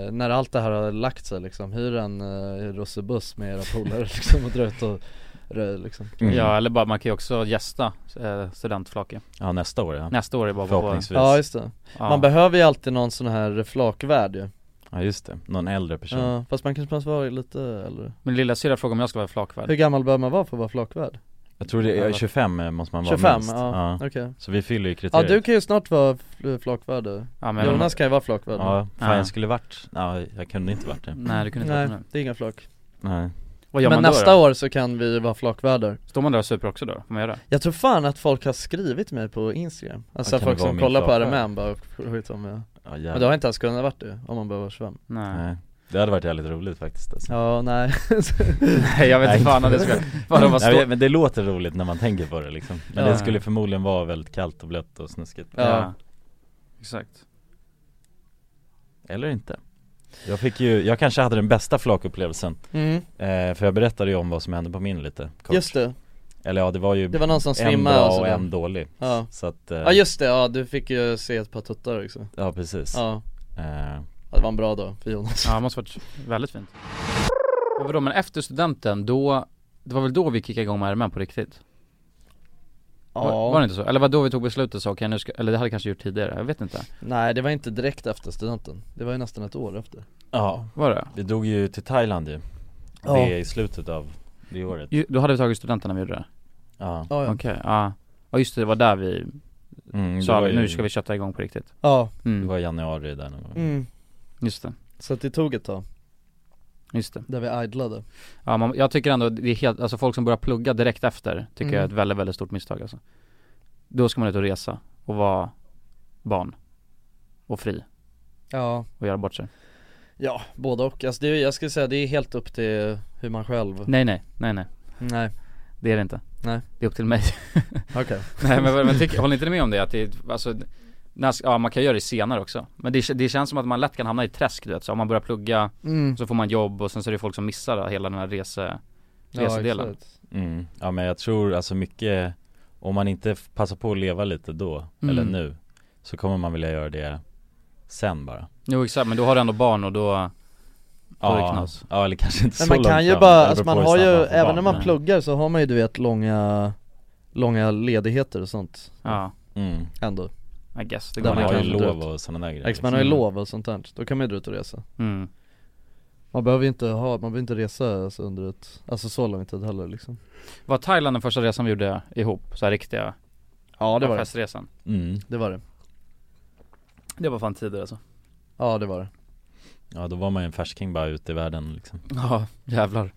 eh, när allt det här har lagt sig liksom, hyr en eh, russebuss med era polare liksom och dra ut och röj liksom Mm. Ja eller bara, man kan ju också gästa eh, studentflake Ja nästa år ja Nästa år är bara på- Förhoppningsvis Ja just det, Ja. man behöver ju alltid någon sån här flakvärd ju Ja just det, någon äldre person Ja, fast man kanske måste vara lite äldre Min lilla syrra frågade om jag skulle vara flakvärd Hur gammal bör man vara för att vara flakvärd? Jag tror det är 25 eh, måste man vara 25, minst ja, okej. Så vi fyller ju Ja kriteriet du kan ju snart vara fl- flakvärd du. men- Jonas kan ju vara flakvärd Ja, fan Ja. jag skulle varit, ja jag kunde inte varit det Nej du kunde inte Nej, vara med. det är inga flak Nej Men nästa år så kan vi vara flakvärdar Står man där och super också då? Får man göra det? Jag tror fan att folk har skrivit mig på Instagram Alltså Ja, kan folk du vara som min kollar på flakvärd? RMM bara skit om jag Ja, jävlar. Men det har inte ens kunnat varit det om man bara var 25 Nej Det hade varit jävligt roligt faktiskt alltså. Ja, nej Nej jag vet inte fan om det ska, vad de var Nej, stå... men- Men det låter roligt när man tänker på det liksom Men Ja. det skulle förmodligen vara väldigt kallt och blött och snuskigt Ja. Ja. Exakt Eller inte Jag fick ju, jag kanske hade den bästa flakupplevelsen Mm. eh, För jag berättade ju om vad som hände på min lite kort. Just det. Eller ja det var ju Det var någon som en svimmade bra och och sådär. en dålig Ja, Så att, eh, ja just det, ja du fick ju se ett par tuttar också Ja precis Ja, eh, ja det var en bra dag för Jonas Ja, det måste varit väldigt fint. Ja, vadå, men efter studenten, då, det var väl då vi kickade igång med RMM på riktigt? Var, var det inte så? Eller var då vi tog beslutet så, okej nu ska, eller det hade jag kanske gjort tidigare, jag vet inte. Nej det var inte direkt efter studenten, det var ju nästan ett år efter Ja, var det? Vi drog ju till Thailand ju Ja. Det är i slutet av det året Ju- Då hade vi tagit studenten när vi gjorde det? Ja. Ja, ja. Okej, ja. Ja just det, det var där vi Mm, det sa var ju... ju- nu ska vi kötta igång på riktigt. Ja. Mm. Det var i januari där någon gång Mm. Just det, Så att det tog ett tag, just det. där vi idlade Ja, man, jag tycker ändå det är helt, alltså folk som börjar plugga direkt efter tycker jag är ett Mm. väldigt, väldigt stort misstag alltså. Då ska man ut och resa och vara barn och fri Ja och göra bort sig. Ja, både och. Alltså det, är- jag skulle säga det är helt upp till hur man själv Nej nej, nej nej Nej Det är det inte Nej Det är upp till mig Okej. Nej men, vad- men tycker, håller inte ni med om det? Att det är, alltså, när, ja man kan göra det senare också Men det, det känns som att man lätt kan hamna i ett träsk du vet, så om man börjar plugga Mm. Så får man jobb och sen så är det folk som missar hela den här rese, Ja, resedelen exakt. Mm. Ja men jag tror alltså mycket Om man inte f- passar på att leva lite då Mm. eller nu Så kommer man vilja göra det sen bara Jo exakt, men då har du ändå barn och då, då är det Ja, knas ja eller kanske inte Men så man kan långt ju fram. bara, Det alltså beror man på har hur ju, snabbt får även när barn, man men- pluggar så har man ju du vet långa, långa ledigheter och sånt Ja mm. Ändå I guess, det Där går Man har ju kan dra lov ut. och sådana där grejer Exakt, man har ju liksom. lov och sånt där, då kan man ju dra ut och resa Mm. Man behöver ju inte ha, man behöver inte resa alltså, under ett, alltså så lång tid heller liksom Var Thailand den första resan vi gjorde ihop? Så här riktiga Ja det var det. Affärsresan Mm. Det var det Det var fan tider alltså Ja det var det Ja då var man ju en färsking bara ute i världen liksom Ja, jävlar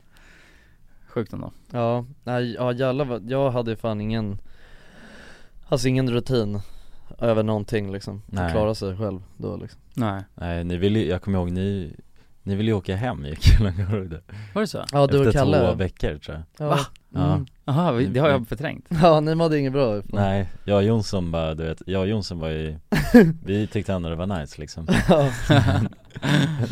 Sjukt ändå Ja, nej, ja jävlar vad, jag hade ju fan ingen Alltså ingen rutin över någonting liksom, att Nej. klara sig själv då liksom Nej Nej ni ville ju- jag kommer ihåg ni Ni ville ju åka hem gick jag kommer ihåg det Var det så? Ja, du och Efter Kalle. två veckor tror jag Ja. Va? Ja Mm. Jaha, vi- det har jag förträngt Ja, ni mådde inget bra fan. Nej, jag och Jonsson bara, du vet, jag och Jonsson var ju Vi tyckte ändå det var nice liksom Ja.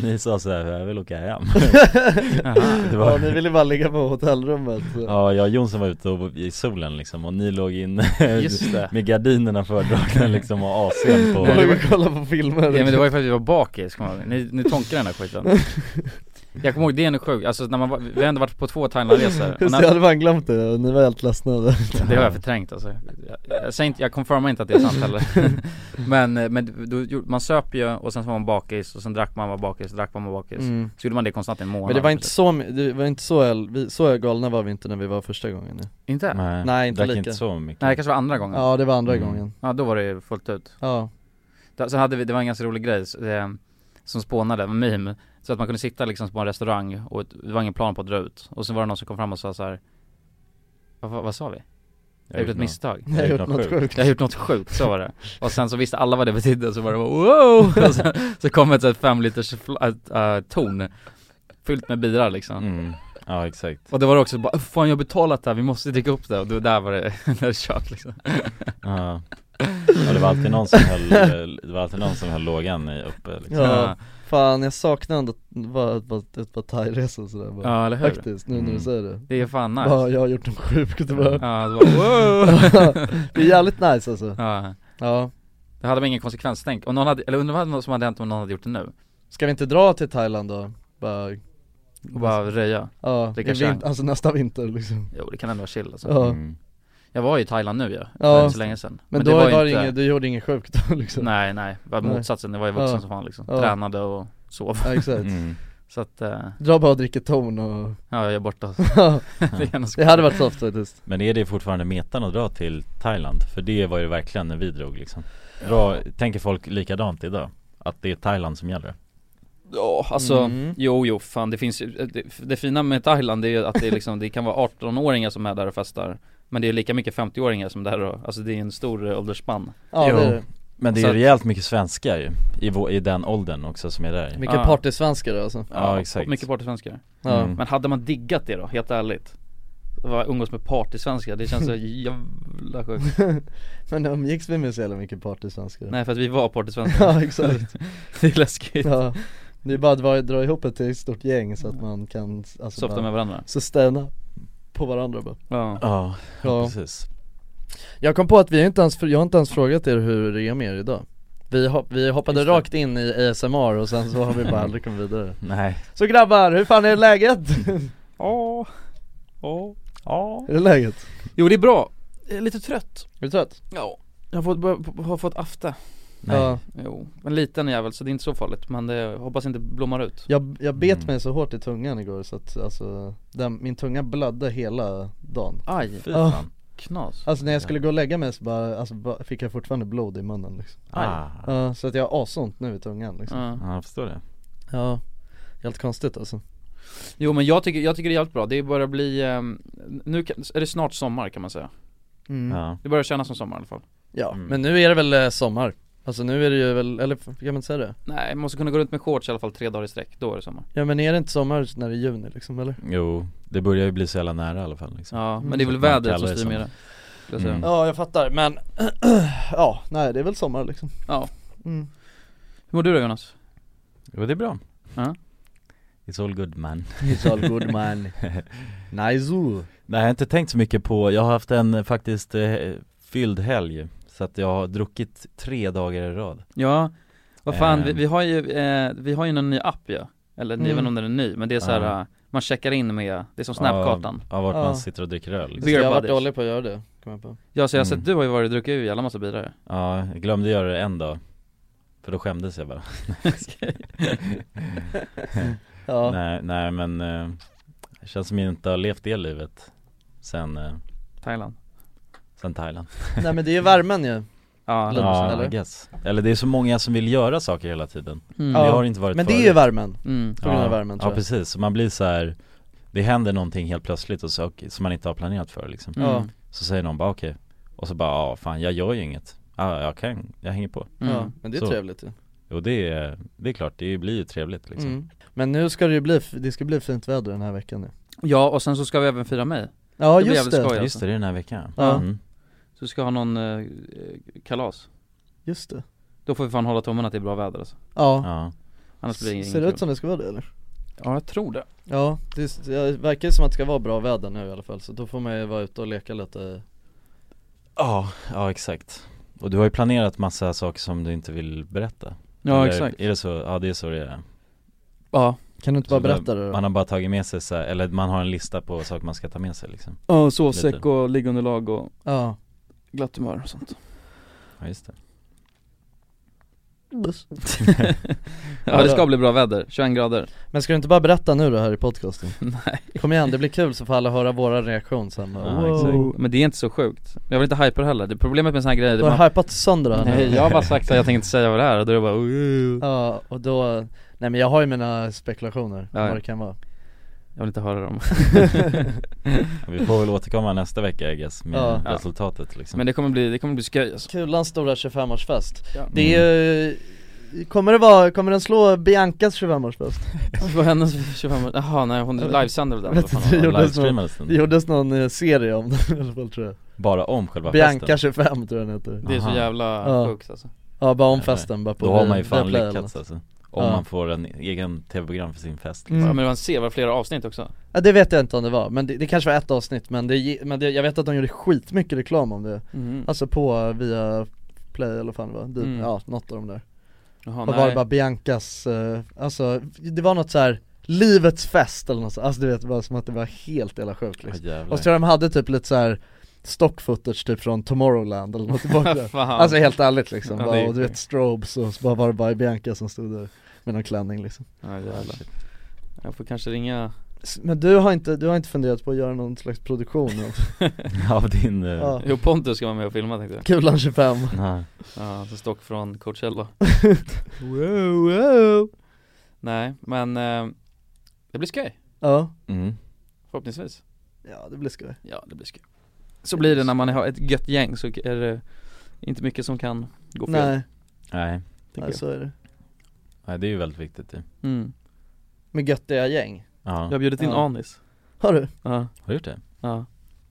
Ni sa såhär, jag vill åka hem Det Ja ni ville bara ligga på hotellrummet Ja, jag och Jonsson var ute och, i solen liksom och ni låg inne Just det. med gardinerna fördragna liksom och AC'n på Nej, det var- kolla på filmer Ja men det var ju för att vi var bakis, kommer jag ihåg. ni, ni tonkade den där skiten Jag kommer ihåg, det är nog sjukt, alltså när man var, vi har ändå varit på två Thailandresor och Just när, det, jag hade fan glömt det, och ni var helt ledsna Det har jag förträngt alltså Jag, jag, säger inte, jag confirmar inte att det är sant heller Men, eh, men då, gjorde- man söp ju och sen så var man bakis och sen drack man, var bakis, drack man, var bakis Mm. Så gjorde man det konstant i en månad Men det var inte så, det var inte så, el- vi, så galna var vi inte när vi var första gången ja. Inte? Nej, Nej inte drack lika inte så mycket Nej det kanske var andra gången Ja det var andra Mm. gången Ja då var det ju fullt ut Ja Där- Så hade vi, det var en ganska rolig grej så, eh, som spånade, en meme. Så att man kunde sitta liksom på en restaurang och ett- det var ingen plan på att dra ut. Och så var det någon som kom fram och sa så här. Vad, vad, vad sa vi? Jag har gjort ett något- misstag. Jag har gjort något sjukt. Jag har gjort något sjukt, så var det. Och sen så visste alla vad det betydde, så var det bara wow! Och Mm. så, så kom ett sånt fem liters fl- äh, äh, torn. Fyllt med bira liksom. Ja exakt Och det var också bara, fan jag har betalat det här, vi måste dricka upp det och då, där var det, där är det kört liksom Ja, ja det var alltid någon som höll, det var alltid någon som höll lågan i- uppe liksom. Ja, fan jag saknar ändå bara ett par, ett par thairesor sådär bara. Ja, eller hur? Faktiskt, nu när du Mm. säger det Det är fan nice. Ja, jag har gjort dem sjukt bara Ja, det var, wow. Det är jävligt nice alltså Ja. ja Det hade man ingen konsekvenstänk, om någon hade, eller undrar vad någon som hade hänt om någon hade gjort det nu? Ska vi inte dra till Thailand då? Bara Och bara röja? Ja, i Dricka vin- chai? alltså nästa vinter liksom Jo det kan ändå vara chill alltså. Ja. Mm. Jag var ju i Thailand nu ju, ja. Ja. för inte så länge sedan Men då var det ju inget- du gjorde inget sjukt då, liksom. Nej nej, det var Nej. motsatsen, det var ju vuxen Ja. som fan liksom, Ja. tränade och sov Ja, exakt. Mm. Så att, eh, Dra bara och dricka ton och ja jag är borta Ja. är gärna så- Det hade varit soft faktiskt Men är det fortfarande metan att dra till Thailand? För det var ju verkligen när vi drog liksom Dra, Tänker folk likadant idag? Att det är Thailand som gäller? Ja, alltså, Mm. jo jo fan det finns ju- det, det fina med Thailand är ju att det är liksom, det kan vara 18-åringar som är där och festar Men det är lika mycket 50-åringar som där och, alltså det är en stor eh, åldersspann Ja, Jo. det är det. Men det är Så ju att- rejält mycket svenskar ju I, vår, I den åldern också som är där Mycket partysvenskar då alltså Ja exakt Mycket partysvenskar Ja. Men hade man diggat det då, helt ärligt? Var umgås med partysvenskar, det känns så jävla sjukt Mm. Men umgicks vi med så jävla mycket partysvenskar? Nej för att vi var partysvenskar Ja exakt Det är läskigt Ja, det är bara att dra, dra ihop ett till stort gäng så att man kan alltså, Softa bara med varandra. Sustaina på varandra bara Ja. Ja, precis Jag kom på att vi inte ens, jag har inte ens frågat er hur det är med er idag Vi, hop, vi hoppade rakt in i ASMR och sen så har vi bara aldrig kommit vidare Nej Så grabbar, hur fan är läget? Ja, ja, ja är det läget? Jo det är bra, jag är lite trött Är du trött? Ja, jag har fått, bör- har fått afta Nej. Ja. Jo, en liten jävel så det är inte så farligt men det, jag hoppas inte blommar ut Jag, jag bet mig så hårt i tungan igår så att alltså, den, min tunga blödde hela dagen Aj, fy Ja. fan. Knas. Alltså när jag skulle gå och lägga mig så bara, alltså, bara, fick jag fortfarande blod i munnen liksom Aj. Ja, Så att jag har asont nu i tungan liksom Ja. Ah. Ja, jag förstår det Ja, helt konstigt alltså Jo men jag tycker, jag tycker det är jävligt bra, det börjar bli, ehm, nu kan, är det snart sommar kan man säga Mm. Ja. Det börjar kännas som sommar i alla fall Ja, men nu är det väl eh, sommar? Alltså nu är det ju väl, eller f- kan man inte säga det? Nej, man måste kunna gå runt med shorts i alla fall tre dagar i sträck, då är det sommar Ja men är det inte sommar när det är juni liksom eller? Jo, det börjar ju bli så jävla nära i alla fall liksom. Ja, men det är väl Så att man vädret kallar som styr mer sommar. det, skulle jag säga. Mm. Ja jag fattar men, ja nej det är väl sommar liksom Ja Mm. Hur mår du då Jonas? Jo det är bra Ja. It's all good man It's all good, man. Nice Nej jag har inte tänkt så mycket på, jag har haft en eh, faktiskt eh, fylld helg Så att jag har druckit tre dagar i rad Ja, vad fan, Eh. vi, vi har ju, eh, vi har ju någon ny app ju Eller Mm. jag vet inte om den är ny, men det är så här, Ja. eh, man checkar in med, det är som snapkartan Ja, ja, vart Ja. man sitter och dricker öl liksom. Så jag har varit buddies. dålig på att göra det, kom jag på Ja så jag har Mm. sett, du har ju varit och druckit ur jävla massa bilar ju. Ja, jag glömde göra det en dag För då skämdes jag bara Ja. nej, nej men, eh, det känns som jag inte har levt det livet sen eh, Thailand Sen Thailand Nej men det är ju värmen ju Ja, Lunch, ja, eller? I guess. eller det är så många som vill göra saker hela tiden Mm. Det Ja, har inte varit men det är förut. ju värmen. Mm. På grund av värmen, tror Ja jag. precis, så man blir så här. Det händer någonting helt plötsligt och så, och, som man inte har planerat för liksom Mm. Ja. Mm. Så säger någon bara okej Och så bara ja fan jag gör ju inget Ah, Ja jag kan, jag hänger på Mm. Ja, men det är trevligt ju. Jo det är, det är klart, det blir ju trevligt liksom Mm. Men nu ska det ju bli, det ska bli fint väder den här veckan nu Ja och sen så ska vi även fira mig Ja, blir just jävligt det. skoj, alltså. Just det, det är den här veckan. Ja. Mm. Så vi ska ha någon eh, kalas Just det Då får vi fan hålla tummen att det är bra väder alltså Ja. Annars blir det Ser det ut som det ska vara det eller? Ja jag tror det Ja, det, det verkar ju som att det ska vara bra väder nu i alla fall så då får man ju vara ute och leka lite Ja, ja exakt Och du har ju planerat massa saker som du inte vill berätta Ja, exakt. Är det så, ja det är så det är Ja Kan du inte bara Så där- berätta det då? Man har bara tagit med sig så här, eller man har en lista på saker man ska ta med sig liksom Ja och sovsäck och liggunderlag och Ja glatt humör och sånt Ja just det Buss. Ja det ska bli bra väder, 21 grader Men ska du inte bara berätta nu då här i podcasten? Nej Kom igen, det blir kul så får alla höra våra reaktion sen bara, wow. Men det är inte så sjukt Jag vill inte hypa det heller, det problemet med såna här grejer Du har hypat sönder det här nu. Nej jag har bara sagt att jag tänker inte säga vad det är och då är det bara "Ooh." Ja, och då, nej men jag har ju mina spekulationer Ja, om ja. vad det kan vara Jag vill inte höra dem Vi får väl återkomma nästa vecka I guess med Ja. resultatet liksom Men det kommer bli, det kommer bli skoj alltså. Kulans stora 25-årsfest Ja. Det är ju Kommer det vara, kommer den slå Biancas 25-årsfest? Vad hennes 25 Jaha, nej hon livesänder den Vet inte, det, gjordes någon, det gjordes någon eh, serie om den i alla fall tror jag Bara om själva Bianca festen? 25 tror jag den heter Det är så jävla sjukt, alltså. Ja bara om Nej, festen, bara på Då har man vi- ju fan Viaplay eller lyckats något. alltså Om Ja. man får en egen tv-program för sin fest Mm. Ja men det var en serie, var flera avsnitt också Ja det vet jag inte om det var, men det, det kanske var ett avsnitt men, det, ge- men det, jag vet att de gjorde skitmycket reklam om det Mhm. Alltså på, eh, via Play eller vad fan det var, Deep, Mm. ja något av dem där Jaha, Och var det nej. bara Biancas, eh, alltså det var något så här livets fest eller något så, alltså du vet, det var som att det var helt jävla sjukt liksom. Ja, jävlar. Och så tror jag de hade typ lite så här stock footage typ från Tomorrowland eller något tillbaka Fan. Alltså helt ärligt liksom, Ja, det är bara, ju och du vet strobes och så bara var det bara Bianca som stod där med någon klänning liksom Ja jävlar Jag får kanske ringa S- Men du har inte, du har inte funderat på att göra någon slags produktion eller något? Av din, eh, Ja. Jo Pontus ska vara med och filma tänkte jag Kulan 25 Nej. Ja, så stock från Coachella Wow, wow. Nej men eh, det blir skoj Ja Mm. Förhoppningsvis Ja det blir skoj Ja det blir skoj Så blir det när man har ett gött gäng så är det inte mycket som kan gå fel Nej. Nej Tänker jag. så är det Nej det är ju väldigt viktigt ju Mm. Med göttiga gäng Ja. Jag har bjudit in Ja. Anis Har du? Ja Har du gjort det? Ja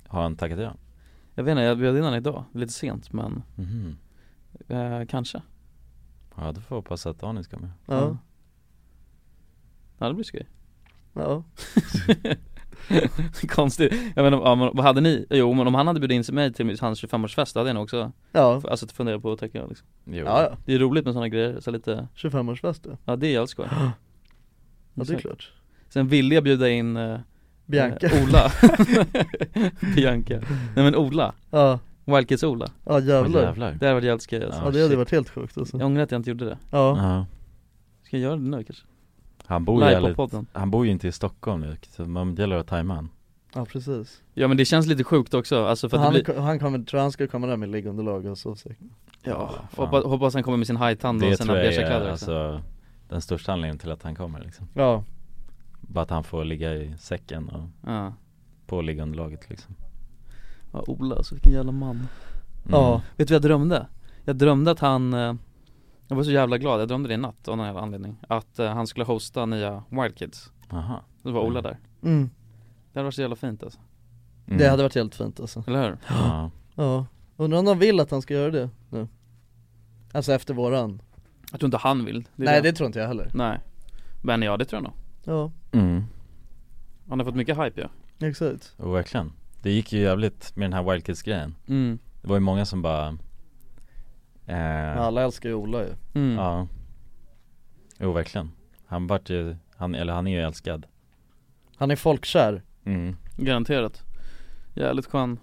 Har han tackat ja? Jag vet inte, jag bjöd in honom idag, lite sent men Mhm. eh, kanske Ja då får jag hoppas att Anis kommer Ja. Ja det blir skoj Ja Konstigt, jag menar, ja, men, vad hade ni? Jo men om han hade bjudit in sig mig till hans 25-årsfest då hade jag nog också Ja. Alltså funderat på att tacka ja, liksom Jo. Ja, ja. Det är roligt med sådana grejer, så lite 25-årsfest då? Ja det är jävligt skoj Ja det är Exakt. klart Sen ville jag bjuda in eh, Bianca. eh, Ola Bianca Nej men Ola Ja. Wild Kids Ola Ja, jävlar. Åh, jävlar. Det hade varit jävligt skoj alltså. Ja, det hade varit helt sjukt alltså. Jag ångrar att jag inte gjorde det Ja. Ja. Ska jag göra det nu kanske? Han bor ju Live på Oh, jävligt- podden. Han bor ju inte i Stockholm nu, så man det gäller att tajma han Ja precis Ja men det känns lite sjukt också, alltså för att han, det blir ko- han kommer, tror han ska komma där med liggunderlag och sovsäck Ja, hoppas, hoppas han kommer med sin hajtand och Det sina tror jag beiga är kläder också. alltså den största anledningen till att han kommer liksom Ja. Bara att han får ligga i säcken och Ja. på liggunderlaget liksom Mm. Ja Ola alltså, vilken jävla man Ja. Vet du vad jag drömde? Jag drömde att han eh, Jag var så jävla glad, jag drömde det i natt av någon jävla anledning Att eh, han skulle hosta nya Wild Kids Aha. Det var Ola där Mm. Det hade varit så jävla fint alltså Det hade varit helt fint alltså Eller hur? Mm. Ja Ja, undrar om de vill att han ska göra det nu Alltså efter våran Jag tror inte han vill är Nej, det tror inte jag heller. Nej Men ja det tror jag nog Ja, Mm, Han har fått mycket hype ja exakt och verkligen Det gick ju jävligt med den här Wild Kids grejen Mm. Det var ju många som bara eh, Men alla älskar ju Ola ju Mm. Ja Jo verkligen Han vart ju, han, eller han är ju älskad Han är folkkär Mm. Garanterat Jävligt skön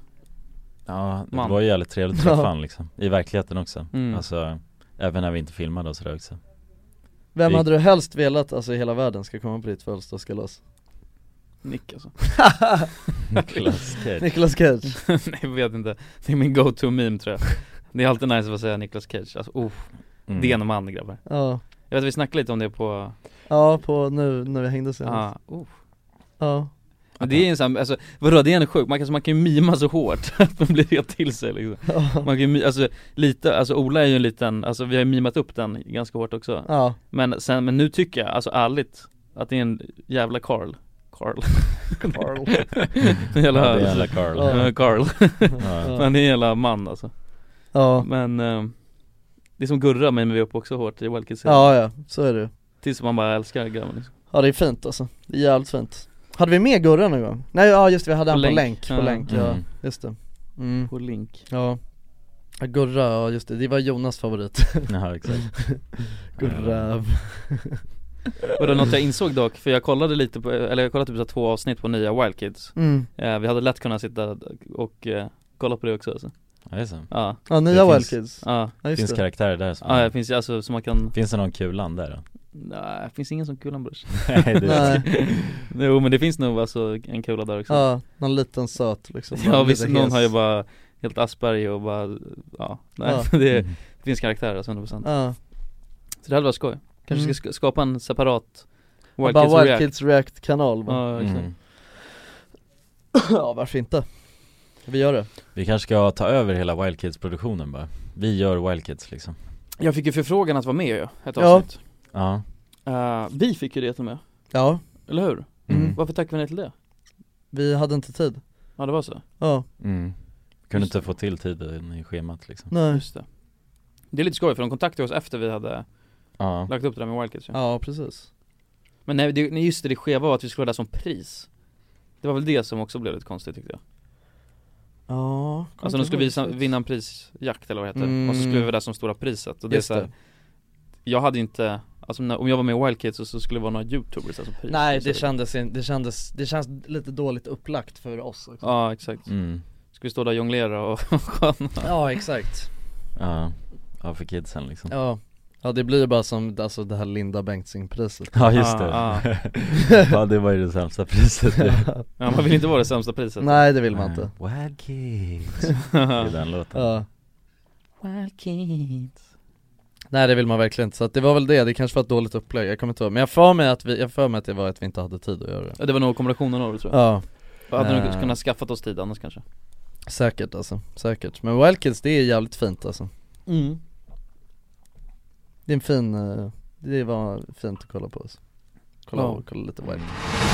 Ja, det Man. var ju jävligt trevligt att Ja. träffa han liksom I verkligheten också Mm. Alltså, även när vi inte filmade och sådär också Vem Vi- hade du helst velat, alltså i hela världen, ska komma på ditt födelsedagskalas? Nick alltså Nicolas Cage. Nicolas Cage. Nej jag vet inte, det är min go-to meme tror jag Det är alltid nice att få säga Nicolas Cage, alltså oh, Mm. det är en man grabbar Ja. Jag vet att vi snackade lite om det på, Ja, på nu, när vi hängde ja, senast oh. Ja Men det är en sån, alltså vadå det är en sjuk, man kan, man kan ju mima så hårt att man blir ret till sig liksom Man kan ju, mi- alltså lite, alltså Ola är ju en liten, alltså vi har ju mimat upp den ganska hårt också Ja. Men sen, men nu tycker jag, alltså ärligt, att det är en jävla Carl Carl Carl jävla, Ja, det är en jävla Carl. Ja, Carl Ja. Men det är en jävla man alltså Ja Men eh, det är som Gurra men vi är upp också hårt i Wild Kids Ja, ja, så är det ju. Tills man bara älskar grabben liksom. Ja det är fint alltså, det är jävligt fint Hade vi med Gurra någon gång? Nej ja just det, vi hade På han på länk. länk, på Ja. länk, ja Mm. just det mm. På länk Ja Ja, Gurra, ja just det, det var Jonas favorit Ja, exakt. Gurra Och det var något jag insåg dock, för jag kollade lite på, eller jag kollade typ så här två avsnitt på nya Wild Kids Mm. eh, Vi hade lätt kunnat sitta och eh, kolla på det också alltså. Ja, det är så. Ja, Ja, nya Det Wild finns- Kids. ja. Ja, just Finns det. karaktärer där som Ja, det finns ju alltså som man kan Finns det någon Kulan där då? Nej, finns ingen som Kulan brors Nej, det är- Nej. Jo men det finns nog alltså en Kula där också Ja, någon liten söt liksom Ja visst, Lite någon hes. har ju bara helt Asperger och bara, ja, nej Ja. det, Mm. är, det finns karaktärer alltså 100% Ja. Så det hade varit skoj, kanske Mm. ska sk- skapa en separat Ja, Wild bara Kids Wild React Kids React kanal bara. Ja, exakt. Mm. ja varför inte? Vi gör det Vi kanske ska ta över hela Wild Kids produktionen bara Vi gör Wild Kids liksom Jag fick ju förfrågan att vara med ju, ett Ja. avsnitt Ja. Eh, Vi fick ju det till och med, Ja, eller hur? Mm. Varför tackade vi nej till det? vi hade inte tid Ja det var så? Ja, Mm. Kunde inte få till tiden i schemat liksom nej Just det Det är lite skoj för de kontaktade oss efter vi hade Ja, lagt upp det där med Wildcats ju. Ja, precis Men nej, det, nej, just det, det skeva var att vi skulle ha det som pris Det var väl det som också blev lite konstigt tyckte jag Ja, kom Alltså de inte skulle ihåg visa, riktigt. vinna en prisjakt eller vad det heter, Mm. och så skulle vi vara där som stora priset och det är Just så här, det. Jag hade inte, alltså när, om jag var med i Wild Kids så, så skulle det vara några youtubers där som pris Nej det Så- kändes, in- det kändes, det känns lite dåligt upplagt för oss också. Ja exakt Mm. Ska vi stå där och jonglera och och sköna? Ja exakt, ja, ja för kidsen liksom ja Ja det blir ju bara som alltså det här Linda Bengtzing-priset Ja just det, Ah, ja det var ju det sämsta priset Ja. Ja man vill inte vara det sämsta priset Nej det vill man inte Wild Kids, det är den låten Ja. Wild Kids Nej det vill man verkligen inte, så att det var väl det, det kanske var ett dåligt upplägg, jag kommer inte ihåg Men jag för mig att vi, jag för mig att det var att vi inte hade tid att göra det Ja, det var nog kombinationen av det tror jag Ja Hade nog Eh. kunnat skaffat oss tid annars kanske Säkert alltså, säkert Men Wild Kids det är jävligt fint alltså Mm Det är en fin, eh, det var fint att kolla på oss Kolla, Ja. kolla lite Wild Kids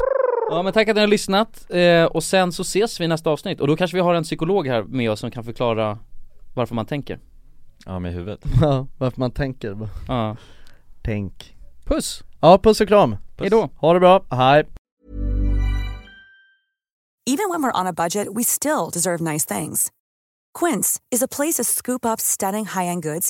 Ja men tack att ni har lyssnat, eh, och sen så ses vi i nästa avsnitt och då kanske vi har en psykolog här med oss som kan förklara varför man tänker Ja med huvudet Ja, varför man tänker bara Ja Tänk Puss! Ja, puss och kram! Hejdå! Ha det bra, hej! Even when we're on a budget, we still deserve nice things. Quince is a place to scoop up stunning high-end goods